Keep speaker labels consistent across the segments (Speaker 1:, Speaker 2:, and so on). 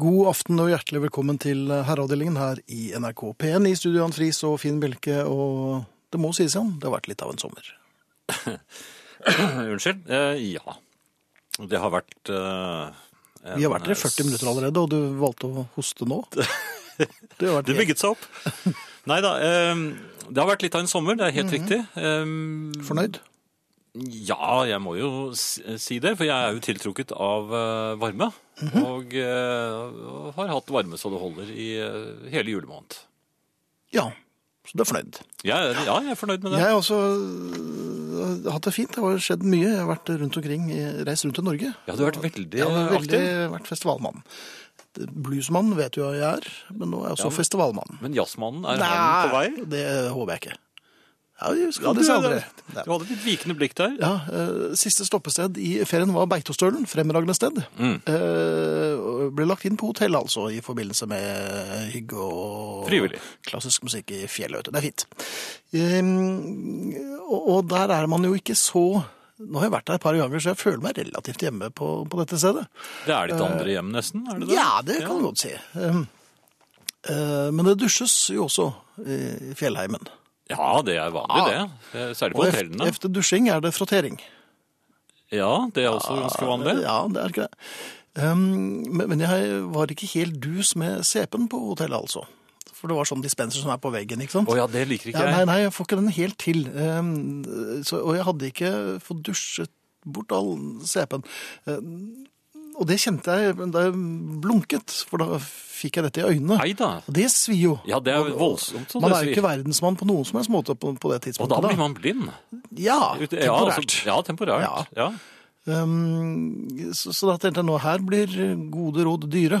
Speaker 1: God aften og hjertelig velkommen til eh, Herreavdelingen her i NRK P1 i studio Jan Friis og Finn Bjelke. Og det må sies, Jan, det har vært litt av en sommer.
Speaker 2: Unnskyld? Eh, ja. Det har vært eh, en, eh,
Speaker 1: Vi har vært der i 40 minutter allerede, og du valgte å hoste nå. Det har vært
Speaker 2: Det bygget seg opp. Nei da. Eh, det har vært litt av en sommer, det er helt riktig. Eh,
Speaker 1: helt Mhm. fornøyd.
Speaker 2: ja, jeg må jo s- si det, for jeg er jo tiltrukket av eh, varme.
Speaker 1: Mhm.
Speaker 2: Og eh, har hatt varme så det holder i eh, hele julemåned.
Speaker 1: Ja, så du er fornøyd.
Speaker 2: Jeg, er- ja, jeg er fornøyd med det.
Speaker 1: Jeg har også øh, hatt det fint. Det har skjedd mye. Jeg har vært rundt omkring, i- reist rundt i Norge.
Speaker 2: Ja, du har vært veldig,
Speaker 1: Jeg har veldig
Speaker 2: aktiv.
Speaker 1: vært festivalmann. Bluesmann vet jo jeg er, men nå er jeg også
Speaker 2: Ja, men-
Speaker 1: festivalmann.
Speaker 2: Men jazzmannen, er han på vei?
Speaker 1: det håper jeg ikke. Ja, vi skal
Speaker 2: Ja,
Speaker 1: det
Speaker 2: du,
Speaker 1: senere.
Speaker 2: du,
Speaker 1: Ja.
Speaker 2: du hadde et litt vikende blikk der.
Speaker 1: Ja, eh, Siste stoppested i ferien var Beitostølen, fremragende sted.
Speaker 2: Mm.
Speaker 1: Eh, og ble lagt inn på hotell, altså, i forbindelse med hygge og
Speaker 2: Frivillig.
Speaker 1: klassisk musikk i fjellet. vet du. Det er fint. Eh, og, og der er man jo ikke så Nå har jeg vært der et par ganger, så jeg føler meg relativt hjemme på, på dette stedet.
Speaker 2: Det er ditt andre hjem, nesten? er det det?
Speaker 1: Ja, det kan du godt si. Eh, eh, men det dusjes jo også i fjellheimen.
Speaker 2: Ja, det er vanlig,
Speaker 1: Ja.
Speaker 2: det. Eh, Særlig på
Speaker 1: Og
Speaker 2: hotellene.
Speaker 1: efter dusjing er det frottering.
Speaker 2: Ja, det er også ganske vanlig.
Speaker 1: Ja, det er ikke det. Um, men men jeg var ikke helt dus med CP-en på hotellet, altså. For det var sånn dispenser som er på veggen, ikke sant?
Speaker 2: Å ja, det liker ikke
Speaker 1: ja, nei,
Speaker 2: jeg.
Speaker 1: nei, jeg får ikke den helt til. Um, så, og jeg hadde ikke fått dusjet bort all CP-en. Um, og det kjente jeg da jeg blunket, for da fikk jeg dette i øynene.
Speaker 2: Nei da.
Speaker 1: Og det svir jo.
Speaker 2: Ja, det er
Speaker 1: Og- og-
Speaker 2: voldsomt, så
Speaker 1: Man
Speaker 2: det
Speaker 1: er jo
Speaker 2: svir.
Speaker 1: ikke verdensmann på noen som helst måte på, på det
Speaker 2: Og
Speaker 1: tidspunktet.
Speaker 2: da blir man blind.
Speaker 1: Ja,
Speaker 2: Ut-
Speaker 1: temporært.
Speaker 2: Ja, altså, ja, temporært. Ja.
Speaker 1: Um, så, så da tenkte jeg nå, her blir gode råd dyre.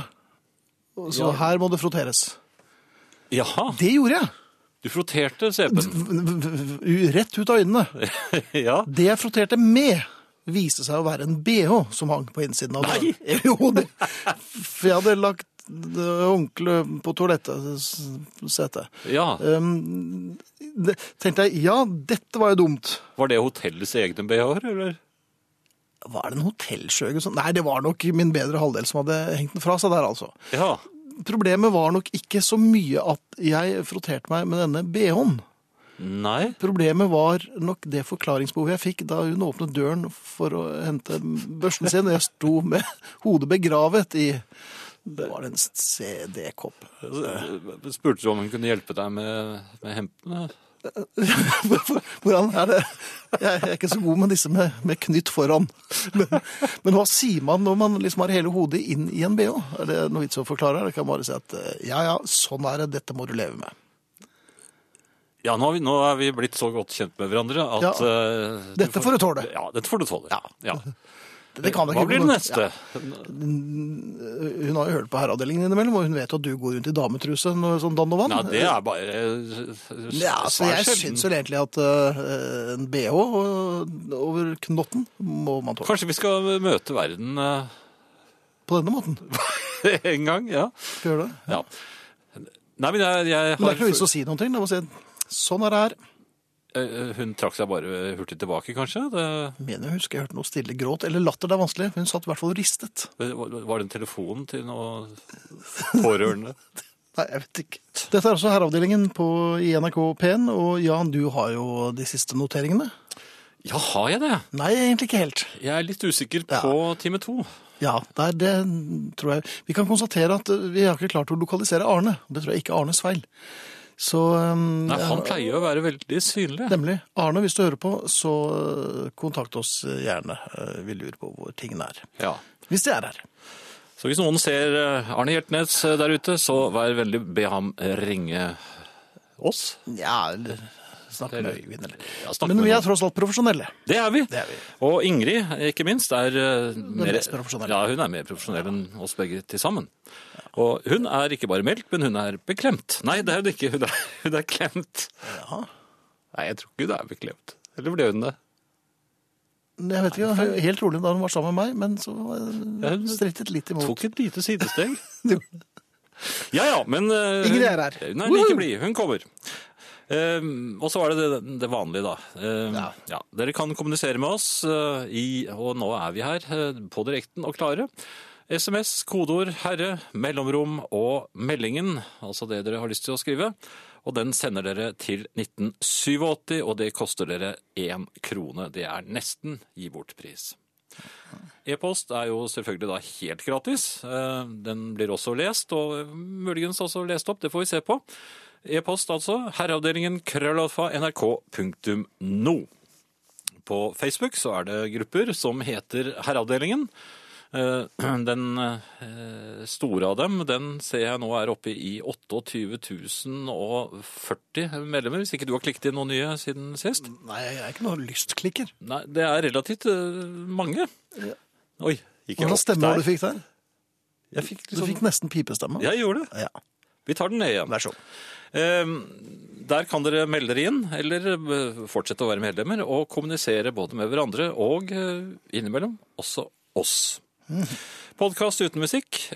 Speaker 1: Og Så
Speaker 2: Ja.
Speaker 1: her må det frotteres.
Speaker 2: Jaha,
Speaker 1: Det gjorde jeg!
Speaker 2: du frotterte CP-en.
Speaker 1: V- v- v- u- Rett ut av øynene.
Speaker 2: ja.
Speaker 1: Det jeg frotterte med, viste seg å være en bh som hang på innsiden av døren. Jo, det. For jeg hadde lagt håndkleet på toalettet. s- setet.
Speaker 2: ja.
Speaker 1: Um, det, tenkte jeg, ja, dette var jo dumt.
Speaker 2: Var det hotellets egne BH-er, eller?
Speaker 1: Var det en hotellskjøge som Nei, det var nok min bedre halvdel som hadde hengt den fra seg der, altså.
Speaker 2: Ja.
Speaker 1: Problemet var nok ikke så mye at jeg frotterte meg med denne BH-en.
Speaker 2: Nei.
Speaker 1: Problemet var nok det forklaringsbehovet jeg fikk da hun åpnet døren for å hente børsten sin, og jeg sto med hodet begravet i Det var en CD-kopp.
Speaker 2: Spurte du om hun kunne hjelpe deg med, med hempene?
Speaker 1: Hvordan er det Jeg er ikke så god med disse med, med knytt foran. Men, men hva sier man når man liksom har hele hodet inn i en BH? Er det noe vits å forklare? Eller kan man bare si at ja, ja, sånn er det, dette må du leve med.
Speaker 2: Ja, nå, har vi, nå er vi blitt så godt kjent med hverandre at
Speaker 1: Ja.
Speaker 2: eh, du
Speaker 1: Dette får du tåle.
Speaker 2: Ja, dette får du tåle.
Speaker 1: Ja.
Speaker 2: Ja.
Speaker 1: Det kan jeg
Speaker 2: Hva
Speaker 1: ikke-
Speaker 2: blir det neste?
Speaker 1: Hun har jo hørt på herreavdelingen innimellom, og hun vet jo at du går rundt i dametruse når sånn Danovan.
Speaker 2: Ja, det er bare eh,
Speaker 1: Ja, så
Speaker 2: svært
Speaker 1: jeg
Speaker 2: sjelden.
Speaker 1: syns vel egentlig at øh, en BH over knotten må man tåle.
Speaker 2: Kanskje vi skal møte verden eh,
Speaker 1: På denne måten.
Speaker 2: en gang, ja.
Speaker 1: Skal vi gjøre det?
Speaker 2: ja. Nei, men jeg,
Speaker 1: Men det
Speaker 2: jeg
Speaker 1: er
Speaker 2: har
Speaker 1: ikke noe vits å si noen ting. Det må si sånn er det her.
Speaker 2: Eh, Hun trakk seg bare hurtig tilbake, kanskje? Det,
Speaker 1: Mener jeg husker jeg hørte noe stille gråt eller latter. Det er vanskelig. Hun satt i hvert fall og ristet.
Speaker 2: eh, var var det en telefon til noen pårørende?
Speaker 1: Nei, jeg vet ikke. Dette er også herreavdelingen på, i NRK P1, og Jan, du har jo de siste noteringene.
Speaker 2: Ja, har jeg det?
Speaker 1: Nei, egentlig ikke helt.
Speaker 2: Jeg er litt usikker
Speaker 1: Ja.
Speaker 2: på time to.
Speaker 1: Ja, det, er det tror jeg. Vi kan konstatere at eh, vi har ikke klart å lokalisere Arne. Det tror jeg ikke er Arnes feil. Så um,
Speaker 2: Nei,
Speaker 1: ja,
Speaker 2: han pleier å være veldig synlig.
Speaker 1: Nemlig. Arne, hvis du hører på, så eh, kontakt oss gjerne. Eh, Vi lurer på hvor tingene er.
Speaker 2: Ja.
Speaker 1: Hvis de er her.
Speaker 2: Så hvis noen ser eh, Arne Hjeltnes eh, der ute, så vær veldig be ham ringe oss.
Speaker 1: Ja, eller snakke med Øyvind, eller
Speaker 2: Ja, snakk
Speaker 1: Men vi
Speaker 2: med
Speaker 1: er
Speaker 2: noen.
Speaker 1: tross alt profesjonelle.
Speaker 2: det er vi.
Speaker 1: Det er vi.
Speaker 2: Og Ingrid, ikke minst, er eh, mer,
Speaker 1: mest profesjonelle.
Speaker 2: ja, hun er mer profesjonell enn oss begge til sammen. Og hun er ikke bare meldt, men hun er beklemt. Nei, det er hun ikke. Hun er, hun er klemt.
Speaker 1: Ja.
Speaker 2: Nei, jeg tror ikke hun er beklemt. Eller ble hun det?
Speaker 1: Jeg vet ikke, Helt rolig da hun var sammen med meg, men så eh,
Speaker 2: Ja, hun
Speaker 1: strittet litt imot.
Speaker 2: Tok et lite sidesteg. Ja ja, men eh,
Speaker 1: Ingrid
Speaker 2: hun-
Speaker 1: er her.
Speaker 2: Hun er like
Speaker 1: Woohoo!
Speaker 2: blid. Hun kommer. Ehm, og så var det det, det vanlige, da. Ehm,
Speaker 1: Ja.
Speaker 2: ja. Dere kan kommunisere med oss, eh, i, og nå er vi her eh, på direkten og klare. SMS, kodeord 'herre', mellomrom og meldingen, altså det dere har lyst til å skrive. Og den sender dere til 1987, og det koster dere én krone. Det er nesten gi bort-pris. E-post er jo selvfølgelig da helt gratis. Eh, Den blir også lest, og muligens også lest opp. Det får vi se på. E-post altså herreavdelingen krøllalfa nrk.no. På Facebook så er det grupper som heter Herreavdelingen. Eh, Den eh, store av dem den ser jeg nå er oppe i 28 040 medlemmer, hvis ikke du har klikket inn noen nye siden sist.
Speaker 1: Nei, jeg er ikke noen lystklikker.
Speaker 2: Nei, det er relativt eh, mange. Oi, gikk jeg
Speaker 1: Hvordan
Speaker 2: opp
Speaker 1: stemme
Speaker 2: der?
Speaker 1: du fikk der?
Speaker 2: Jeg fikk
Speaker 1: Du
Speaker 2: liksom...
Speaker 1: fikk nesten pipestemme.
Speaker 2: Jeg gjorde det.
Speaker 1: Ja,
Speaker 2: Vi tar den ned igjen.
Speaker 1: Vær så god.
Speaker 2: Eh, Der kan dere melde dere inn, eller eh, fortsette å være medlemmer, og kommunisere både med hverandre og eh, innimellom også oss. Podkast uten musikk,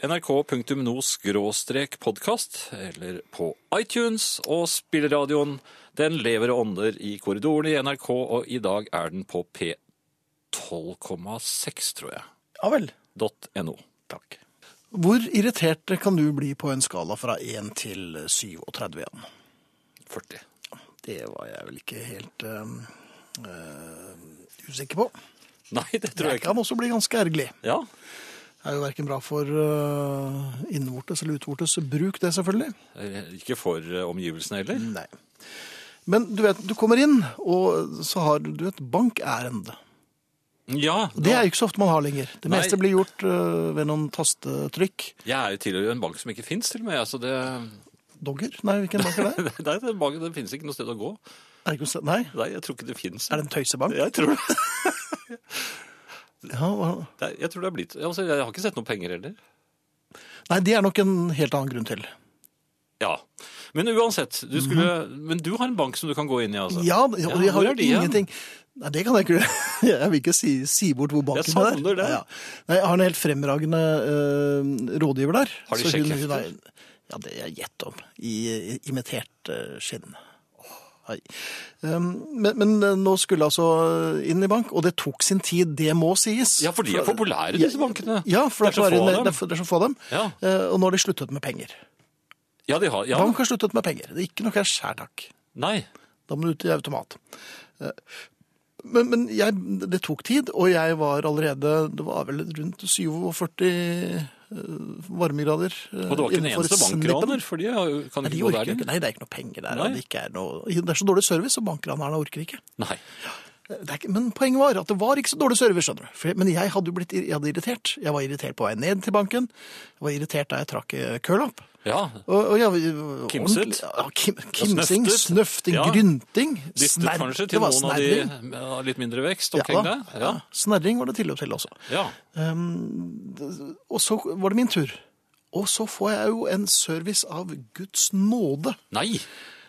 Speaker 2: nrk.no-podkast, eller på iTunes, og spilleradioen Den lever og ånder i korridorene i NRK, og i dag er den på p12,6, tror jeg,
Speaker 1: Ja vel.
Speaker 2: .no.
Speaker 1: Takk. Hvor irritert kan du bli på en skala fra 1 til 37 igjen?
Speaker 2: 40.
Speaker 1: Det var jeg vel ikke helt eh, eh, usikker på.
Speaker 2: Nei, det tror
Speaker 1: Jeg
Speaker 2: jeg ikke.
Speaker 1: kan også bli ganske ergerlig.
Speaker 2: Ja,
Speaker 1: Det er jo verken bra for eh, innvortes eller utvortes bruk, det selvfølgelig.
Speaker 2: Eh, Ikke for eh, omgivelsene heller.
Speaker 1: Nei. Men du vet, du kommer inn, og så har du et bankærende.
Speaker 2: Mm. Ja,
Speaker 1: Det er jo ikke så ofte man har lenger. Det
Speaker 2: Nei.
Speaker 1: meste blir gjort eh, ved noen tastetrykk.
Speaker 2: jeg er jo tilhører en bank som ikke fins, til og med. Altså det,
Speaker 1: Dogger? Nei, hvilken bank er det?
Speaker 2: nei, den banken den finnes ikke noe sted å gå.
Speaker 1: Er det, ikke, noe sted- nei,
Speaker 2: Nei, jeg tror ikke det fins.
Speaker 1: er det en tøysebank?
Speaker 2: Jeg tror det.
Speaker 1: Ja, hva-
Speaker 2: Nei, Jeg tror det er blitt altså, Jeg har ikke sett noen penger heller.
Speaker 1: nei, det er nok en helt annen grunn til.
Speaker 2: Ja. Men uansett, du skulle Men du har en bank som du kan gå inn i, altså?
Speaker 1: Mhm. Ja, og jeg
Speaker 2: hvor
Speaker 1: har
Speaker 2: er de hen?
Speaker 1: ingenting Nei, det kan jeg ikke Jeg vil ikke si, si bort hvor banken
Speaker 2: Jeg
Speaker 1: er.
Speaker 2: savner det.
Speaker 1: Ja. Nei, jeg har en helt fremragende eh, rådgiver der.
Speaker 2: Har de
Speaker 1: Så hun- hun
Speaker 2: sjekkhefter?
Speaker 1: er- Ja, det er gjett om. I, i imitert eh, skinn. Oi. Um, men, men eh, nå skulle altså inn i bank, og det tok sin tid, det må sies.
Speaker 2: Ja, for de er populære, disse bankene.
Speaker 1: Ja, for det er,
Speaker 2: så
Speaker 1: bare-
Speaker 2: få av
Speaker 1: det
Speaker 2: dem.
Speaker 1: er, det er så få av dem.
Speaker 2: Ja.
Speaker 1: Eh, og nå har de sluttet med penger.
Speaker 2: Ja, de har ja.
Speaker 1: Bank har sluttet med penger. Det er ikke noe cash her, takk.
Speaker 2: Nei.
Speaker 1: Da må du ut i automat. Eh, Men, men jeg, det tok tid, og jeg var allerede Det var vel rundt 47 eh, varmegrader. eh,
Speaker 2: Og det var ikke en
Speaker 1: innenfor
Speaker 2: eneste
Speaker 1: snippen.
Speaker 2: bankraner, for de har jo- kan
Speaker 1: Nei, de
Speaker 2: ikke gå
Speaker 1: orker
Speaker 2: der.
Speaker 1: jo ikke.
Speaker 2: de.
Speaker 1: Nei, det er ikke noe penger der.
Speaker 2: Nei.
Speaker 1: og Det, ikke er noe, det er så dårlig service, og bankranerne orker ikke.
Speaker 2: Nei.
Speaker 1: Det er ikke. Men poenget var at det var ikke så dårlig service, skjønner du. For, men jeg hadde jo blitt ir- jeg hadde irritert. Jeg var irritert på vei ned til banken. Jeg var irritert da jeg trakk eh, kølapp.
Speaker 2: Ja.
Speaker 1: Og, og jeg,
Speaker 2: Kimset?
Speaker 1: ordentlig- Ja, kim, kimsing,
Speaker 2: snøftet?
Speaker 1: snøfting,
Speaker 2: Ja.
Speaker 1: grynting.
Speaker 2: Dyttet
Speaker 1: snerr-
Speaker 2: kanskje
Speaker 1: det
Speaker 2: til
Speaker 1: var
Speaker 2: noen av
Speaker 1: snerring.
Speaker 2: de med av litt mindre vekst omkring
Speaker 1: da.
Speaker 2: deg? Ja.
Speaker 1: Snerring var det tilløp til også.
Speaker 2: ja.
Speaker 1: Og så var det min tur. Og så får jeg jo en service av Guds nåde.
Speaker 2: Nei.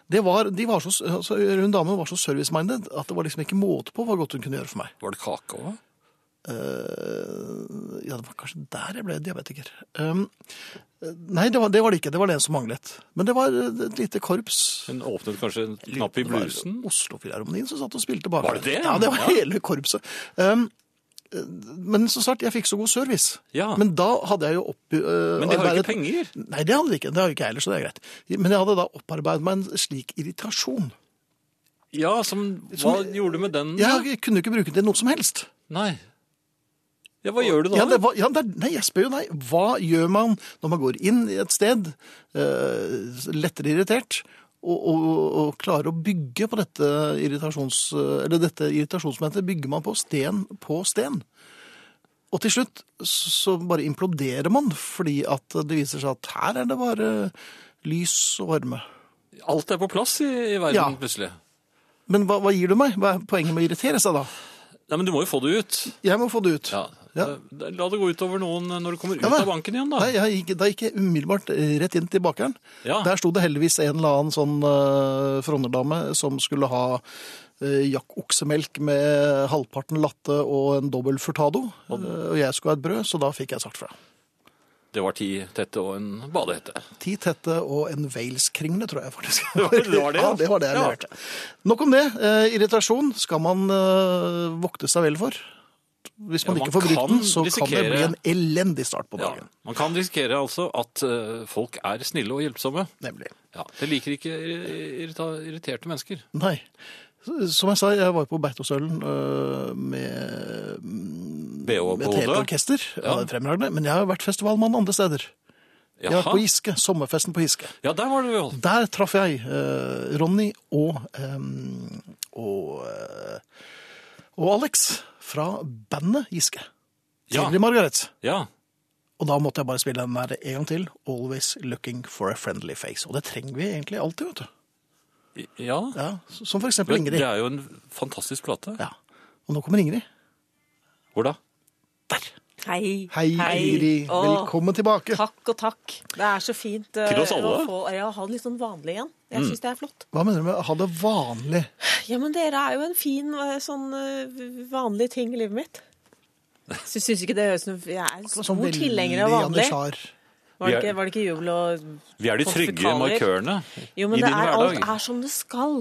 Speaker 1: Det var, de var så, altså, hun damen var så service-minded at det var liksom ikke måte på hva godt hun kunne gjøre for meg.
Speaker 2: Var det kake òg?
Speaker 1: Eh, ja, det var kanskje der jeg ble diabetiker. Um, eh, nei, det var, det var det ikke. Det var det en som manglet. Men det var et lite korps.
Speaker 2: Hun åpnet kanskje en knapp i
Speaker 1: Det var
Speaker 2: blusen?
Speaker 1: Oslo-filharmonien som satt og spilte bak.
Speaker 2: Var det det?
Speaker 1: Ja, det var
Speaker 2: Ja.
Speaker 1: hele korpset. Um, eh, men som sagt, jeg fikk så god service.
Speaker 2: Ja.
Speaker 1: Men da hadde jeg jo opp... eh,
Speaker 2: Men de har jo ikke penger.
Speaker 1: Nei, det hadde de ikke. Det har jo ikke jeg heller, så det er greit. Men jeg hadde da opparbeidet meg en slik irritasjon.
Speaker 2: Ja, som, Hva gjorde du med den? da?
Speaker 1: Jeg kunne jo ikke bruke den til noe som helst.
Speaker 2: Nei. Ja, hva gjør du da?
Speaker 1: Ja, det var, ja, det, er- nei, jeg spør jo deg. Hva gjør man når man går inn i et sted, eh, lettere irritert, og, og, og klarer å bygge på dette, irritasjons, eller dette irritasjonsmomentet? Bygger man på sten på sten? Og til slutt så bare imploderer man, fordi at det viser seg at her er det bare lys og varme.
Speaker 2: Alt er på plass i, i verden
Speaker 1: Ja.
Speaker 2: plutselig.
Speaker 1: Men hva, hva gir du meg? Hva er poenget med å irritere seg da?
Speaker 2: Nei, men du må jo få det ut.
Speaker 1: Jeg må få det ut.
Speaker 2: Ja.
Speaker 1: Ja.
Speaker 2: Da- La det gå utover noen når du kommer ut
Speaker 1: Ja, da.
Speaker 2: av banken igjen, da.
Speaker 1: Nei, jeg gikk, da gikk jeg umiddelbart eh, rett inn til bakeren.
Speaker 2: Ja.
Speaker 1: Der sto det heldigvis en eller annen sånn uh, fronnerdame som skulle ha uh, jakkoksemelk med halvparten latte og en dobbel furtado. Eh, og jeg skulle ha et brød, så da fikk jeg sagt fra.
Speaker 2: Det var ti tette og en badehette.
Speaker 1: Ti tette og en Wales-kringle, tror jeg faktisk.
Speaker 2: Det var- det var det,
Speaker 1: ja.
Speaker 2: ja.
Speaker 1: det var det jeg
Speaker 2: Ja.
Speaker 1: leverte. Nok om det. Eh, irritasjon skal man eh, vokte seg vel for. Hvis man
Speaker 2: Ja, man
Speaker 1: ikke får brukt
Speaker 2: kan
Speaker 1: den, så kan det
Speaker 2: risikere-
Speaker 1: bli en elendig start på
Speaker 2: Ja.
Speaker 1: dagen.
Speaker 2: Man kan risikere altså at eh, folk er snille og hjelpsomme.
Speaker 1: Nemlig.
Speaker 2: Ja, Det liker ikke irri- irrita irriterte mennesker.
Speaker 1: Nei. Som jeg sa, jeg var på Beitostølen øh, med,
Speaker 2: BH
Speaker 1: med
Speaker 2: på
Speaker 1: et helt
Speaker 2: hodet.
Speaker 1: orkester.
Speaker 2: Ja.
Speaker 1: Ja. det er Fremragende. Men jeg har jo vært festivalmann andre steder. Jeg har vært
Speaker 2: Jaha.
Speaker 1: på Giske, sommerfesten på Giske.
Speaker 2: Ja, der var det jo.
Speaker 1: Der traff jeg eh, Ronny og, eh, og, eh, og Alex fra bandet Giske.
Speaker 2: Ja.
Speaker 1: Tidlig Margaret.
Speaker 2: Ja.
Speaker 1: Og da måtte jeg bare spille den der en gang til. Always looking for a friendly face. Og det trenger vi egentlig alltid, vet du.
Speaker 2: ja.
Speaker 1: Ja, s- som for eksempel
Speaker 2: Men det
Speaker 1: Ingrid.
Speaker 2: er jo en fantastisk plate.
Speaker 1: Ja. Og nå kommer Ingrid.
Speaker 2: Hvor da?
Speaker 1: Der.
Speaker 3: Hei.
Speaker 1: Hei, Ingrid.
Speaker 3: Å,
Speaker 1: Velkommen tilbake.
Speaker 3: Takk og takk. Det er så fint eh,
Speaker 2: Til oss alle. Mm.
Speaker 3: å få ja, ha det litt sånn vanlig igjen. Jeg syns det er flott.
Speaker 1: Hva mener du med å ha det vanlig?
Speaker 3: Ja, men dere er jo en fin eh, sånn eh, vanlig ting i livet mitt. Så syns ikke det høres noe Jeg er en stor
Speaker 1: Sånn veldig
Speaker 3: tilhenger av vanlig.
Speaker 1: Anders Haar.
Speaker 3: Var det, ikke, var det ikke jubel og
Speaker 2: Vi er de trygge
Speaker 3: Konfikaler.
Speaker 2: markørene
Speaker 3: Jo,
Speaker 2: i
Speaker 3: men det
Speaker 2: din
Speaker 3: er, alt
Speaker 2: hverdag.
Speaker 3: er som det skal.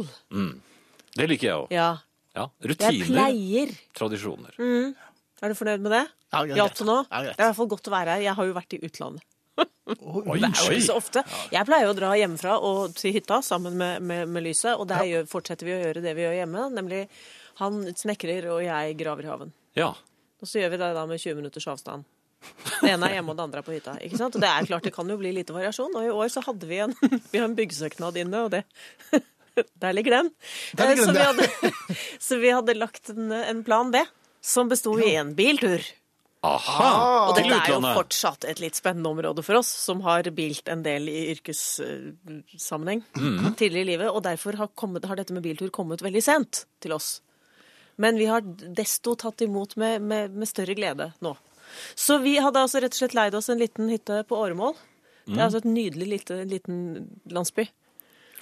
Speaker 2: Det liker jeg òg.
Speaker 3: Ja.
Speaker 2: Ja.
Speaker 3: Jeg
Speaker 2: Rutiner,
Speaker 3: pleier. Mm.
Speaker 2: tradisjoner.
Speaker 3: Er du fornøyd med det?
Speaker 1: Ja, det er greit.
Speaker 3: Hjalp det nå?
Speaker 1: Ja,
Speaker 3: det
Speaker 1: greit.
Speaker 3: er i hvert fall godt å være her. Jeg har jo vært i utlandet.
Speaker 1: Oi,
Speaker 3: Det er jo ikke så ofte. Jeg pleier jo å dra hjemmefra og til hytta sammen med, med, med lyset, og der gjør, fortsetter vi å gjøre det vi gjør hjemme, nemlig han snekrer og jeg graver i haven.
Speaker 2: Ja.
Speaker 3: Og så gjør vi det da med 20 minutters avstand. Det ene er hjemme, og det andre er på hytta. Ikke sant? Og det er klart, det kan jo bli lite variasjon. Og i år så hadde vi en, vi har en byggesøknad inne, og det Der ligger den.
Speaker 1: Der ligger
Speaker 3: Eh, så,
Speaker 1: den,
Speaker 3: vi
Speaker 1: ja.
Speaker 3: hadde, så vi hadde lagt en, en plan B, som besto i en biltur.
Speaker 2: Aha!
Speaker 3: Ah, Og
Speaker 2: Til
Speaker 3: dette er jo
Speaker 2: utlandet.
Speaker 3: fortsatt et litt spennende område for oss, som har bilt en del i yrkessammenheng
Speaker 2: Mhm.
Speaker 3: tidligere i livet. Og derfor har, kommet, har dette med biltur kommet veldig sent til oss. Men vi har desto tatt imot med, med, med større glede nå. Så vi hadde altså rett og slett leid oss en liten hytte på Åremål.
Speaker 2: Mhm.
Speaker 3: Det er altså et nydelig lite, liten landsby.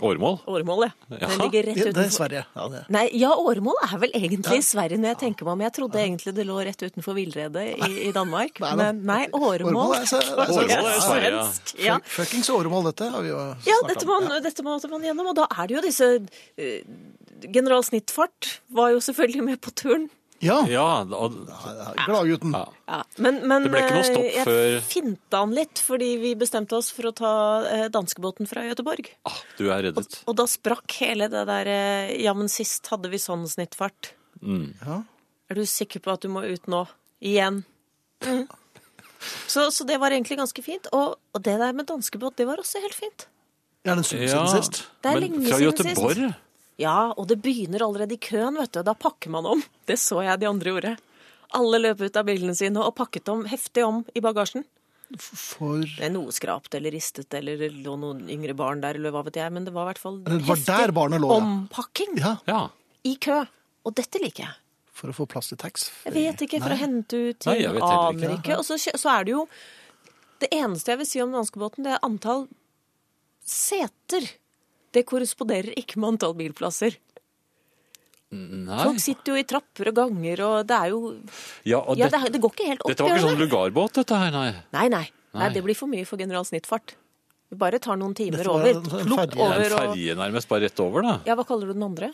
Speaker 2: Åremål.
Speaker 3: Åremål, ja. Den
Speaker 2: Jaha.
Speaker 3: ligger rett
Speaker 1: Det, det er
Speaker 3: utenfor
Speaker 1: Sverige. Ja, det.
Speaker 3: Nei, ja, Åremål er vel egentlig i Sverige, når jeg tenker meg om. Jeg trodde egentlig det lå rett utenfor Villredet i, i Danmark.
Speaker 1: Nei da.
Speaker 3: Men nei, Åremål
Speaker 1: Åremål er, så- er, så-
Speaker 2: Åremål er
Speaker 3: Ja,
Speaker 2: Sverige, ja.
Speaker 3: svensk. Ja.
Speaker 1: Fuckings åremål, dette har vi jo
Speaker 3: Ja,
Speaker 1: snakket
Speaker 3: dette
Speaker 1: om.
Speaker 3: må, dette måtte man gjennom, og da er det jo disse eh, General Snittfart var jo selvfølgelig med på turen.
Speaker 1: Ja,
Speaker 2: Ja, og
Speaker 1: Gladgutten.
Speaker 2: Ja.
Speaker 3: Men, men
Speaker 2: Det ble ikke noe stopp
Speaker 3: eh, jeg
Speaker 2: før-
Speaker 3: finta han litt, fordi vi bestemte oss for å ta eh, danskebåten fra Gøteborg.
Speaker 2: ah, du er reddet.
Speaker 3: Og da sprakk hele det der eh, Ja, men sist hadde vi sånn snittfart.
Speaker 1: Ja.
Speaker 3: Er du sikker på at du må ut nå? Igjen? Mhm. Så, så det var egentlig ganske fint. Og, og det der med danskebåt, det var også helt fint.
Speaker 1: Er det en stund
Speaker 2: Ja,
Speaker 1: siden sist?
Speaker 3: Det er
Speaker 2: men
Speaker 3: lenge
Speaker 2: fra
Speaker 3: siden sist.
Speaker 2: Göteborg?
Speaker 3: Ja, og det begynner allerede i køen, vet du. Da pakker man om. Det så jeg de andre gjorde. Alle løp ut av bilene sine og pakket om heftig om i bagasjen.
Speaker 1: For
Speaker 3: Det er noe skrapt eller ristet eller det lå noen yngre barn der eller hva vet jeg, men det var i hvert fall
Speaker 1: Eller det var
Speaker 3: heftig
Speaker 1: der barnet lå, ja.
Speaker 3: ompakking
Speaker 1: Ja,
Speaker 2: Ja.
Speaker 3: i kø. Og dette liker jeg.
Speaker 1: for å få plass til tax.
Speaker 3: Jeg vet ikke, for å hente ut
Speaker 2: Nei,
Speaker 3: ting,
Speaker 2: jeg vet heller
Speaker 3: aner ikke. Og så, kjø- så er det jo Det eneste jeg vil si om danskebåten, det er antall seter. Det korresponderer ikke med antall bilplasser.
Speaker 2: Nei.
Speaker 3: Folk sitter jo i trapper og ganger, og det er jo
Speaker 2: Ja, og
Speaker 3: Ja,
Speaker 2: det,
Speaker 3: det, det går ikke helt opp.
Speaker 2: dette var ikke
Speaker 3: gjør
Speaker 2: sånn
Speaker 3: det?
Speaker 2: lugarbåt, dette her, nei.
Speaker 3: nei, nei, nei.
Speaker 2: Nei.
Speaker 3: Det blir for mye for general snittfart. Vi bare tar noen timer
Speaker 1: Dette var
Speaker 3: over.
Speaker 1: en- en
Speaker 3: Plopp
Speaker 1: ferge.
Speaker 2: Det er
Speaker 3: over
Speaker 2: en
Speaker 3: og
Speaker 2: ferje nærmest bare rett over, da.
Speaker 3: Ja, hva kaller du den andre?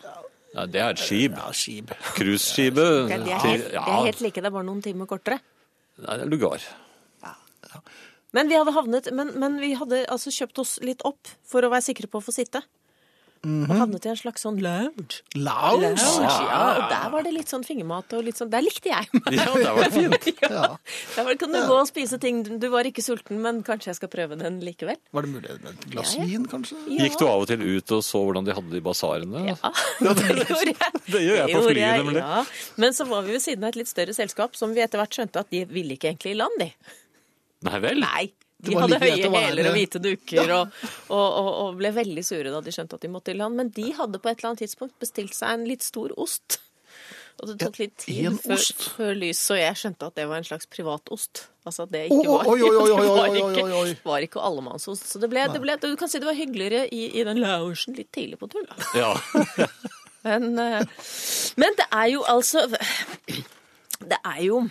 Speaker 2: Nei, det er et skip.
Speaker 1: Ja, skib.
Speaker 2: Cruiseskipet.
Speaker 3: Det
Speaker 2: til-
Speaker 3: er, helt, det er helt like, det er bare noen timer kortere.
Speaker 2: Nei, det er lugar.
Speaker 3: Men vi hadde havnet Men, men vi hadde altså kjøpt oss litt opp for å være sikre på å få sitte.
Speaker 2: Mm-hmm.
Speaker 3: Og havnet i en slags sånn lounge.
Speaker 1: Lounge.
Speaker 3: Ja, og der var det litt sånn fingermat og litt sånn Der likte jeg meg.
Speaker 2: Ja, det var fint.
Speaker 3: Ja. Der var det, kan du gå og spise ting. Du var ikke sulten, men kanskje jeg skal prøve den likevel.
Speaker 1: Var det mulig med et glass
Speaker 3: Ja, ja.
Speaker 1: vin, kanskje?
Speaker 2: Gikk du av og til ut og så hvordan de hadde det i basarene?
Speaker 3: Ja, det gjorde jeg.
Speaker 2: det gjør jeg på
Speaker 3: gjorde
Speaker 2: flyet,
Speaker 3: jeg,
Speaker 2: nemlig.
Speaker 3: Ja. Men så var vi ved siden av et litt større selskap som vi etter hvert skjønte at de ville ikke egentlig i land, de.
Speaker 2: Nei vel?
Speaker 3: Nei.
Speaker 1: Det
Speaker 3: De
Speaker 1: var
Speaker 3: hadde
Speaker 1: like greit
Speaker 3: høye
Speaker 1: å være-
Speaker 3: hæler og hvite duker og, og, og, og ble veldig sure da de skjønte at de måtte i land. Men de hadde på et eller annet tidspunkt bestilt seg en litt stor ost. Og det tok litt tid
Speaker 1: en
Speaker 3: før,
Speaker 1: ost?
Speaker 3: før lys, så jeg skjønte at det var en slags privatost. Altså at det
Speaker 1: Oi,
Speaker 3: ikke var,
Speaker 1: oi, oi, oi, oi, oi,
Speaker 3: det var,
Speaker 1: oi, oi.
Speaker 3: ikke, var ikke allemannsost. Så det ble, det ble, du kan si det var hyggeligere i, i den loungen litt tidlig på turen. da.
Speaker 2: Ja.
Speaker 3: Men, eh, men det er jo altså Det er jo